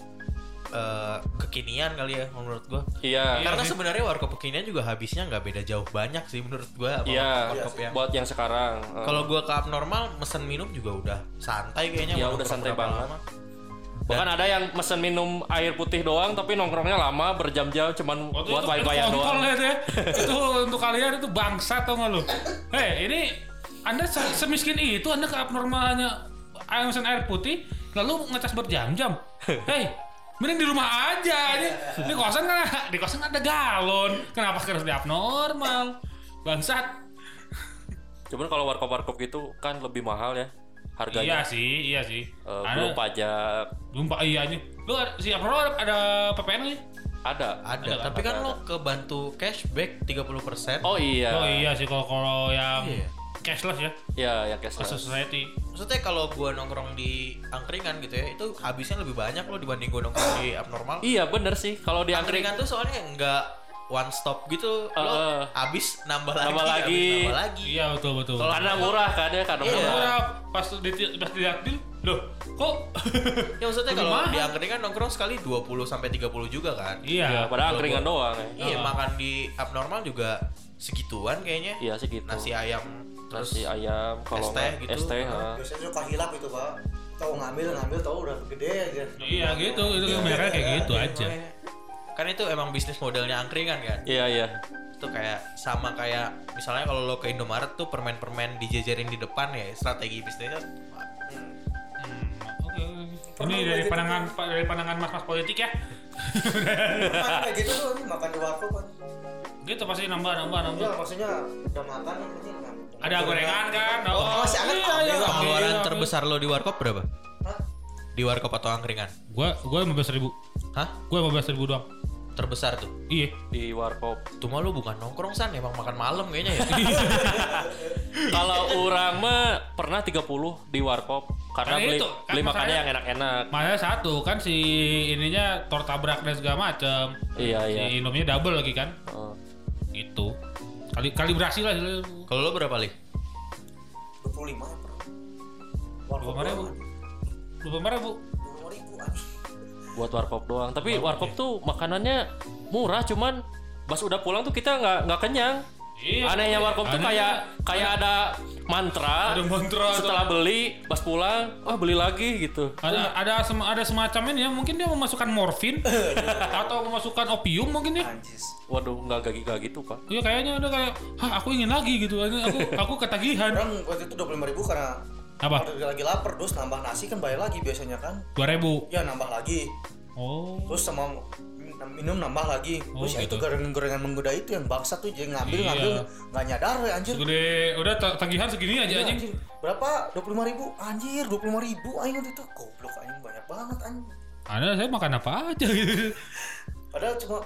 Speaker 4: eh, kekinian kali ya menurut gua.
Speaker 1: iya
Speaker 4: Karena
Speaker 3: sih.
Speaker 4: sebenarnya warkop kekinian juga habisnya nggak beda jauh banyak sih menurut gua. sama
Speaker 1: Iya,
Speaker 4: warkop
Speaker 3: ya.
Speaker 4: yang
Speaker 1: buat yang sekarang. eh,
Speaker 4: kalau gua ke abnormal mesen minum juga udah santai kayaknya.
Speaker 1: Iya,
Speaker 4: mau
Speaker 1: udah
Speaker 4: nongkrong
Speaker 1: santai
Speaker 4: berapa
Speaker 1: banget.
Speaker 4: lama.
Speaker 1: bahkan ada yang mesen minum air putih doang tapi nongkrongnya lama berjam-jam cuman
Speaker 3: Waktu
Speaker 1: buat
Speaker 3: Oh, itu
Speaker 1: bayar
Speaker 3: kontol
Speaker 1: doang.
Speaker 3: lihat ya. itu untuk kalian itu bangsa tau nggak lu hei ini anda se- semiskin itu anda ke abnormal hanya air mesin air putih lalu ngecas berjam-jam hei mending di rumah aja ini di kosan kan di kosan ada galon kenapa harus di abnormal bangsat
Speaker 1: Cuman kalau warkop-warkop gitu kan lebih mahal ya
Speaker 3: iya
Speaker 1: harganya.
Speaker 3: sih iya sih
Speaker 1: Eh,
Speaker 3: Anda-
Speaker 1: belum pajak
Speaker 3: belum pak iya aja lu ada- si abnormal ada PPN nya
Speaker 1: ada.
Speaker 4: Ada,
Speaker 3: Ada,
Speaker 4: tapi kan
Speaker 1: ada,
Speaker 4: lo kebantu cashback 30%.
Speaker 1: Oh iya.
Speaker 3: oh iya sih kalau kalau yang
Speaker 4: Iya.
Speaker 3: cashless ya
Speaker 1: Iya, yang cash.
Speaker 3: ke society
Speaker 4: Maksudnya kalau gua nongkrong di angkringan gitu ya, itu habisnya lebih banyak lo dibanding gua nongkrong di abnormal.
Speaker 1: Iya bener sih kalau di angkringan
Speaker 4: angkringan tuh soalnya nggak one stop gitu lo
Speaker 1: Eh, eh.
Speaker 4: abis nambah lagi
Speaker 1: Nambah
Speaker 4: abis
Speaker 1: lagi.
Speaker 4: nambah lagi
Speaker 3: iya betul betul
Speaker 4: Kalau-
Speaker 1: karena murah kan ya karena
Speaker 4: Iya.
Speaker 1: murah.
Speaker 3: Murah, pas di pas diambil loh kok
Speaker 4: ya maksudnya
Speaker 3: Lebih
Speaker 4: kalau
Speaker 3: mahal.
Speaker 4: di angkringan nongkrong sekali 20 sampai 30 juga kan
Speaker 1: Iya,
Speaker 3: iya
Speaker 1: padahal angkringan doang ya.
Speaker 4: iya makan di abnormal juga segituan kayaknya
Speaker 1: Iya sih gitu.
Speaker 4: nasi ayam terus
Speaker 1: Nasi ayam kalau
Speaker 4: es teh
Speaker 1: nggak-
Speaker 4: gitu.
Speaker 1: es teh, ha.
Speaker 2: Biasanya suka hilap itu, Pak. Tahu ngambil, ngambil tahu udah gede aja. Iya,
Speaker 3: iya gitu itu kan mereka kayak gitu aja
Speaker 4: Makanya- kan itu emang bisnis modelnya angkringan kan
Speaker 1: Iya iya.
Speaker 4: itu kayak sama kayak misalnya kalau lo ke Indomaret tuh permen-permen dijajarin di depan ya strategi bisnisnya
Speaker 3: Oke, oke. ini dari pandangan dari pandangan mas mas politik ya
Speaker 2: Makan kayak gitu tuh ini makan di warkop kan.
Speaker 3: gitu pasti nambah nambah nambah
Speaker 2: Iya, maksudnya udah makan yang penting kan.
Speaker 3: ada gorengan kan
Speaker 2: Oh, masih anget,
Speaker 3: Iya,
Speaker 2: Pak.
Speaker 3: iya,
Speaker 4: pengeluaran
Speaker 3: iya.
Speaker 4: terbesar lo di warkop berapa
Speaker 2: Hah?
Speaker 4: di warkop atau angkringan
Speaker 3: gua gua lima belas ribu
Speaker 4: hah
Speaker 3: gua lima belas ribu doang
Speaker 4: terbesar tuh
Speaker 3: iya
Speaker 1: Di warkop.
Speaker 4: Cuma lu bukan nongkrong san, emang makan malam kayaknya ya.
Speaker 1: Kalau orang mah pernah 30 di warkop karena
Speaker 3: Karena
Speaker 1: beli
Speaker 3: itu, kan
Speaker 1: beli makannya
Speaker 3: masalahnya-
Speaker 1: yang enak-enak.
Speaker 3: Makanya satu kan si ininya tor tabrak dan segala macem.
Speaker 1: Iya,
Speaker 3: si
Speaker 1: iya.
Speaker 3: Indomie double lagi kan.
Speaker 1: Heeh.
Speaker 3: Itu. Kali kalibrasi lah.
Speaker 4: Kalau lu berapa li?
Speaker 2: 25 ya, Pak. Warkop
Speaker 3: Kemarin bu. Lupa marah bu.
Speaker 2: 20.000 anjing.
Speaker 1: buat warkop doang. Tapi
Speaker 3: ya.
Speaker 1: warkop tuh makanannya murah cuman pas udah pulang tuh kita nggak nggak kenyang.
Speaker 3: Iya.
Speaker 1: Anehnya warkop tuh
Speaker 3: Anehnya-
Speaker 1: kayak kayak ada mantra.
Speaker 3: Ada mantra atau-
Speaker 1: Setelah beli, pas pulang, wah beli lagi gitu.
Speaker 3: Ada ada sem- ada semacam ini ya mungkin dia memasukkan morfin
Speaker 1: Iya.
Speaker 3: atau memasukkan opium mungkin ya.
Speaker 2: Anjis.
Speaker 1: Waduh, nggak gagi gak gitu pak.
Speaker 3: Iya kayaknya udah kayak, hah aku ingin lagi gitu, aku aku ketagihan.
Speaker 2: Orang waktu itu 25.000 karena
Speaker 3: Apa?
Speaker 2: waktu lagi lapar terus nambah nasi kan bayar lagi biasanya kan.
Speaker 3: Dua ribu.
Speaker 2: Ya nambah lagi.
Speaker 3: Oh.
Speaker 2: Terus sama min- minum nambah lagi.
Speaker 3: Oh,
Speaker 2: Terus ya itu
Speaker 3: gitu.
Speaker 2: gorengan-gorengan menggoda itu yang baksa tuh jadi ngambil
Speaker 3: Iya.
Speaker 2: ngambil nggak nyadar ya anjir.
Speaker 3: Segede udah ta- tagihan segini aja
Speaker 2: Iya,
Speaker 3: anjing.
Speaker 2: anjir. Berapa? 25.000 ribu? Anjir, 25.000 ribu aing waktu itu. Goblok aing banyak banget anjing.
Speaker 3: Anda saya makan apa aja gitu.
Speaker 2: Padahal cuma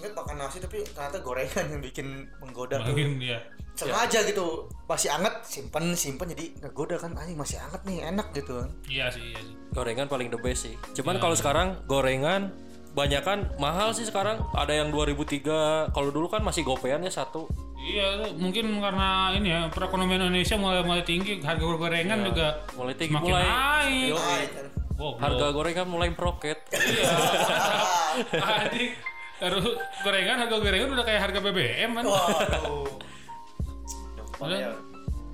Speaker 2: ingat makan nasi tapi ternyata gorengan yang bikin menggoda tuh.
Speaker 3: Mungkin ya.
Speaker 2: sengaja gitu masih anget simpen simpen jadi ngegoda kan anjing masih anget nih enak gitu kan
Speaker 3: Iya sih, iya sih.
Speaker 1: Gorengan paling the best sih. Cuman
Speaker 3: Ya.
Speaker 1: kalau sekarang gorengan banyak kan mahal sih sekarang. Ada yang 2003. Kalau dulu kan masih gopean ya satu.
Speaker 3: Iya, itu mungkin karena ini ya perekonomian Indonesia mulai mulai tinggi, harga gorengan juga
Speaker 1: Mulai Iya. tinggi
Speaker 3: semakin
Speaker 1: mulai.
Speaker 3: naik.
Speaker 1: Yo,
Speaker 2: Nah,
Speaker 3: Wow,
Speaker 1: harga gorengan mulai meroket.
Speaker 3: Iya. Anjing. Harus gorengan, harga gorengan udah kayak harga BBM kan.
Speaker 2: waduh
Speaker 3: Udah.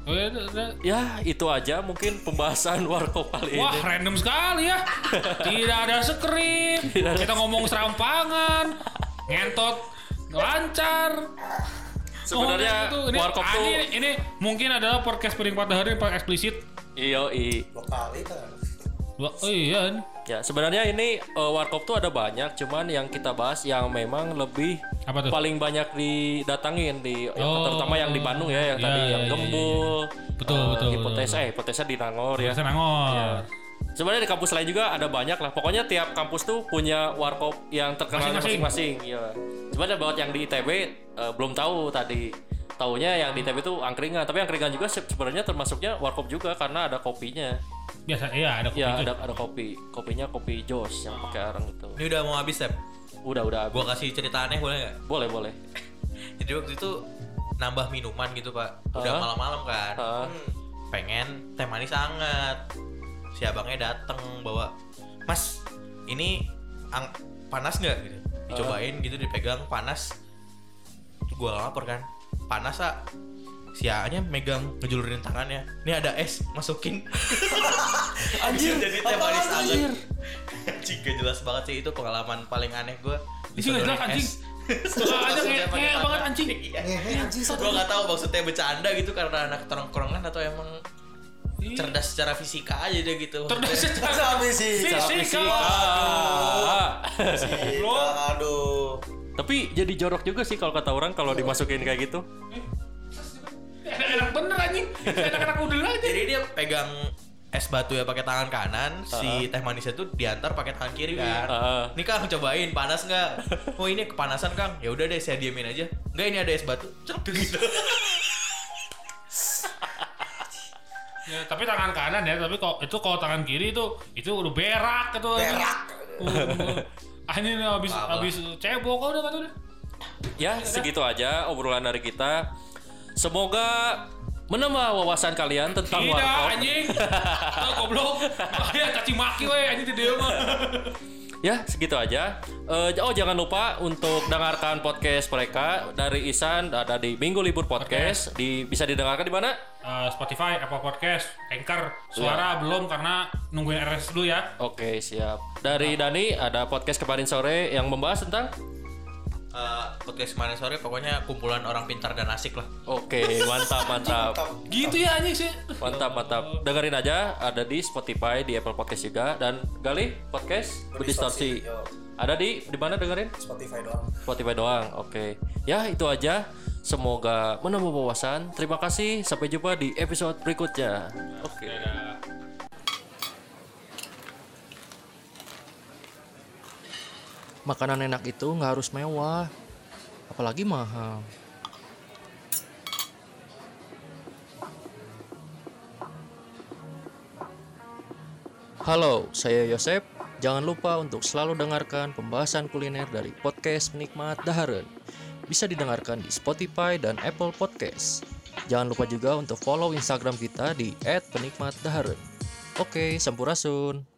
Speaker 3: Oh, iya, udah, udah.
Speaker 1: ya itu aja mungkin pembahasan warkop kali
Speaker 3: Wah
Speaker 1: ini.
Speaker 3: random sekali ya Tidak ada skrip Kita ngomong serampangan Ngentot Lancar
Speaker 1: Sebenarnya
Speaker 3: Ngomongnya gitu. ini,
Speaker 1: warkop
Speaker 3: ah,
Speaker 1: tuh
Speaker 3: ini, ini mungkin adalah podcast paling patah hari yang paling eksplisit
Speaker 1: iyo i.
Speaker 2: lokal itu
Speaker 3: Wah, oh iya nih.
Speaker 1: Ya sebenarnya ini eh, warkop tuh ada banyak. Cuman yang kita bahas yang memang lebih
Speaker 3: Apa tuh?
Speaker 1: paling banyak didatangin di ya,
Speaker 3: Oh.
Speaker 1: terutama yang di Bandung ya yang
Speaker 3: Ya,
Speaker 1: tadi
Speaker 3: ya,
Speaker 1: yang
Speaker 3: ya,
Speaker 1: gembul.
Speaker 3: Betul,
Speaker 1: eh,
Speaker 3: betul,
Speaker 1: Hipotesa eh hipotesa di Nangor ya.
Speaker 3: Bisa nangor
Speaker 1: Sebenarnya di kampus lain juga ada banyak lah. Pokoknya tiap kampus tuh punya warkop yang terkenal
Speaker 3: Masing-masing.
Speaker 1: masing-masing. Iya. Sebenarnya buat yang di ITB eh, belum tahu tadi. Taunya yang di ITB tuh angkringan, tapi angkringan juga se- sebenarnya termasuknya warkop juga karena ada kopinya.
Speaker 3: Biasa, iya ada kopi
Speaker 1: Ya,
Speaker 3: itu.
Speaker 1: ada ada kopi. Kopinya kopi Jos yang pakai arang itu.
Speaker 4: Ini udah mau habis, Sep.
Speaker 1: Udah, udah.
Speaker 4: Gua kasih cerita aneh boleh nggak?
Speaker 1: Boleh, boleh.
Speaker 4: Jadi waktu itu nambah minuman gitu, Pak. Udah
Speaker 1: Hah?
Speaker 4: malam-malam kan.
Speaker 1: Hah?
Speaker 4: Pengen teh manis hangat. Si abangnya dateng bawa, "Mas, ini ang- panas nggak?" gitu. Dicobain gitu dipegang panas. Itu gua lapor kan. Panas, ah. Si A-nya megang ngejulurin tangannya. Ini ada es, masukin. Anjir, jadi teh manis
Speaker 2: apaan
Speaker 4: hangat. Anjing gak jelas banget sih itu pengalaman paling aneh gua.
Speaker 3: Anjing, gak jelas, anjing. Soalnya kayak- kayak banget, anjing.
Speaker 2: ngehe anjing satu
Speaker 4: Gue gak tahu maksudnya bercanda gitu karena anak tongkrongan atau emang
Speaker 3: Iya.
Speaker 4: cerdas secara fisika aja dia gitu.
Speaker 3: Cerdas secara
Speaker 2: Secara fisika.
Speaker 3: fisika.
Speaker 1: Ah.
Speaker 3: Belum.
Speaker 2: aduh
Speaker 1: Tapi jadi jorok juga sih kalau kata orang kalau dimasukin kayak gitu.
Speaker 3: Enak bener anjing Enak-enak udel aja
Speaker 4: Jadi dia pegang es batu ya pakai tangan kanan, si teh manisnya tuh diantar pakai tangan kiri kan.
Speaker 1: Heeh.
Speaker 4: Nih Kang cobain panas nggak? Oh ini kepanasan Kang. Ya udah deh saya diamin aja. Enggak ini ada es batu. Cerp gitu.
Speaker 3: Ya, tapi tangan kanan ya, tapi kalau itu kalau tangan kiri itu itu udah berak itu.
Speaker 2: Berak.
Speaker 3: Uh, ini nih habis
Speaker 4: Apa?
Speaker 3: habis cebok udah kan udah.
Speaker 1: Ya, segitu aja obrolan dari kita. Semoga menambah wawasan kalian tentang
Speaker 3: Tidak
Speaker 1: warkop.
Speaker 3: anjing. Tahu goblok. Ya caci maki we anjing di dia mah.
Speaker 1: Ya, segitu aja. Eh, oh, jangan lupa untuk dengarkan podcast mereka dari Isan ada di Minggu Libur Podcast. Di bisa didengarkan di mana?
Speaker 3: Eh, Spotify, Apple Podcast, Anchor, suara belum karena nungguin RS dulu ya.
Speaker 1: Oke, siap. Dari Dani ada podcast kemarin sore yang membahas tentang
Speaker 4: Eh, podcast kemarin sore pokoknya kumpulan orang pintar dan asik lah.
Speaker 1: Oke, mantap, mantap.
Speaker 3: Gitu ya anjing sih.
Speaker 1: Mantap, mantap. Dengerin aja ada di Spotify, di Apple Podcast juga dan Gali podcast berdistorsi.
Speaker 2: Yo,
Speaker 1: Ada di di mana dengerin?
Speaker 2: Spotify doang
Speaker 1: Spotify doang. Oke. Ya, itu aja. Semoga menambah wawasan. Terima kasih. Sampai jumpa di episode berikutnya. Oke.
Speaker 3: Dadah.
Speaker 5: makanan enak itu nggak harus mewah, apalagi mahal. Halo, saya Yosep. Jangan lupa untuk selalu dengarkan pembahasan kuliner dari podcast Penikmat Daharen. Bisa didengarkan di Spotify dan Apple Podcast. Jangan lupa juga untuk follow Instagram kita di @penikmatdaharen. Oke, sampurasun.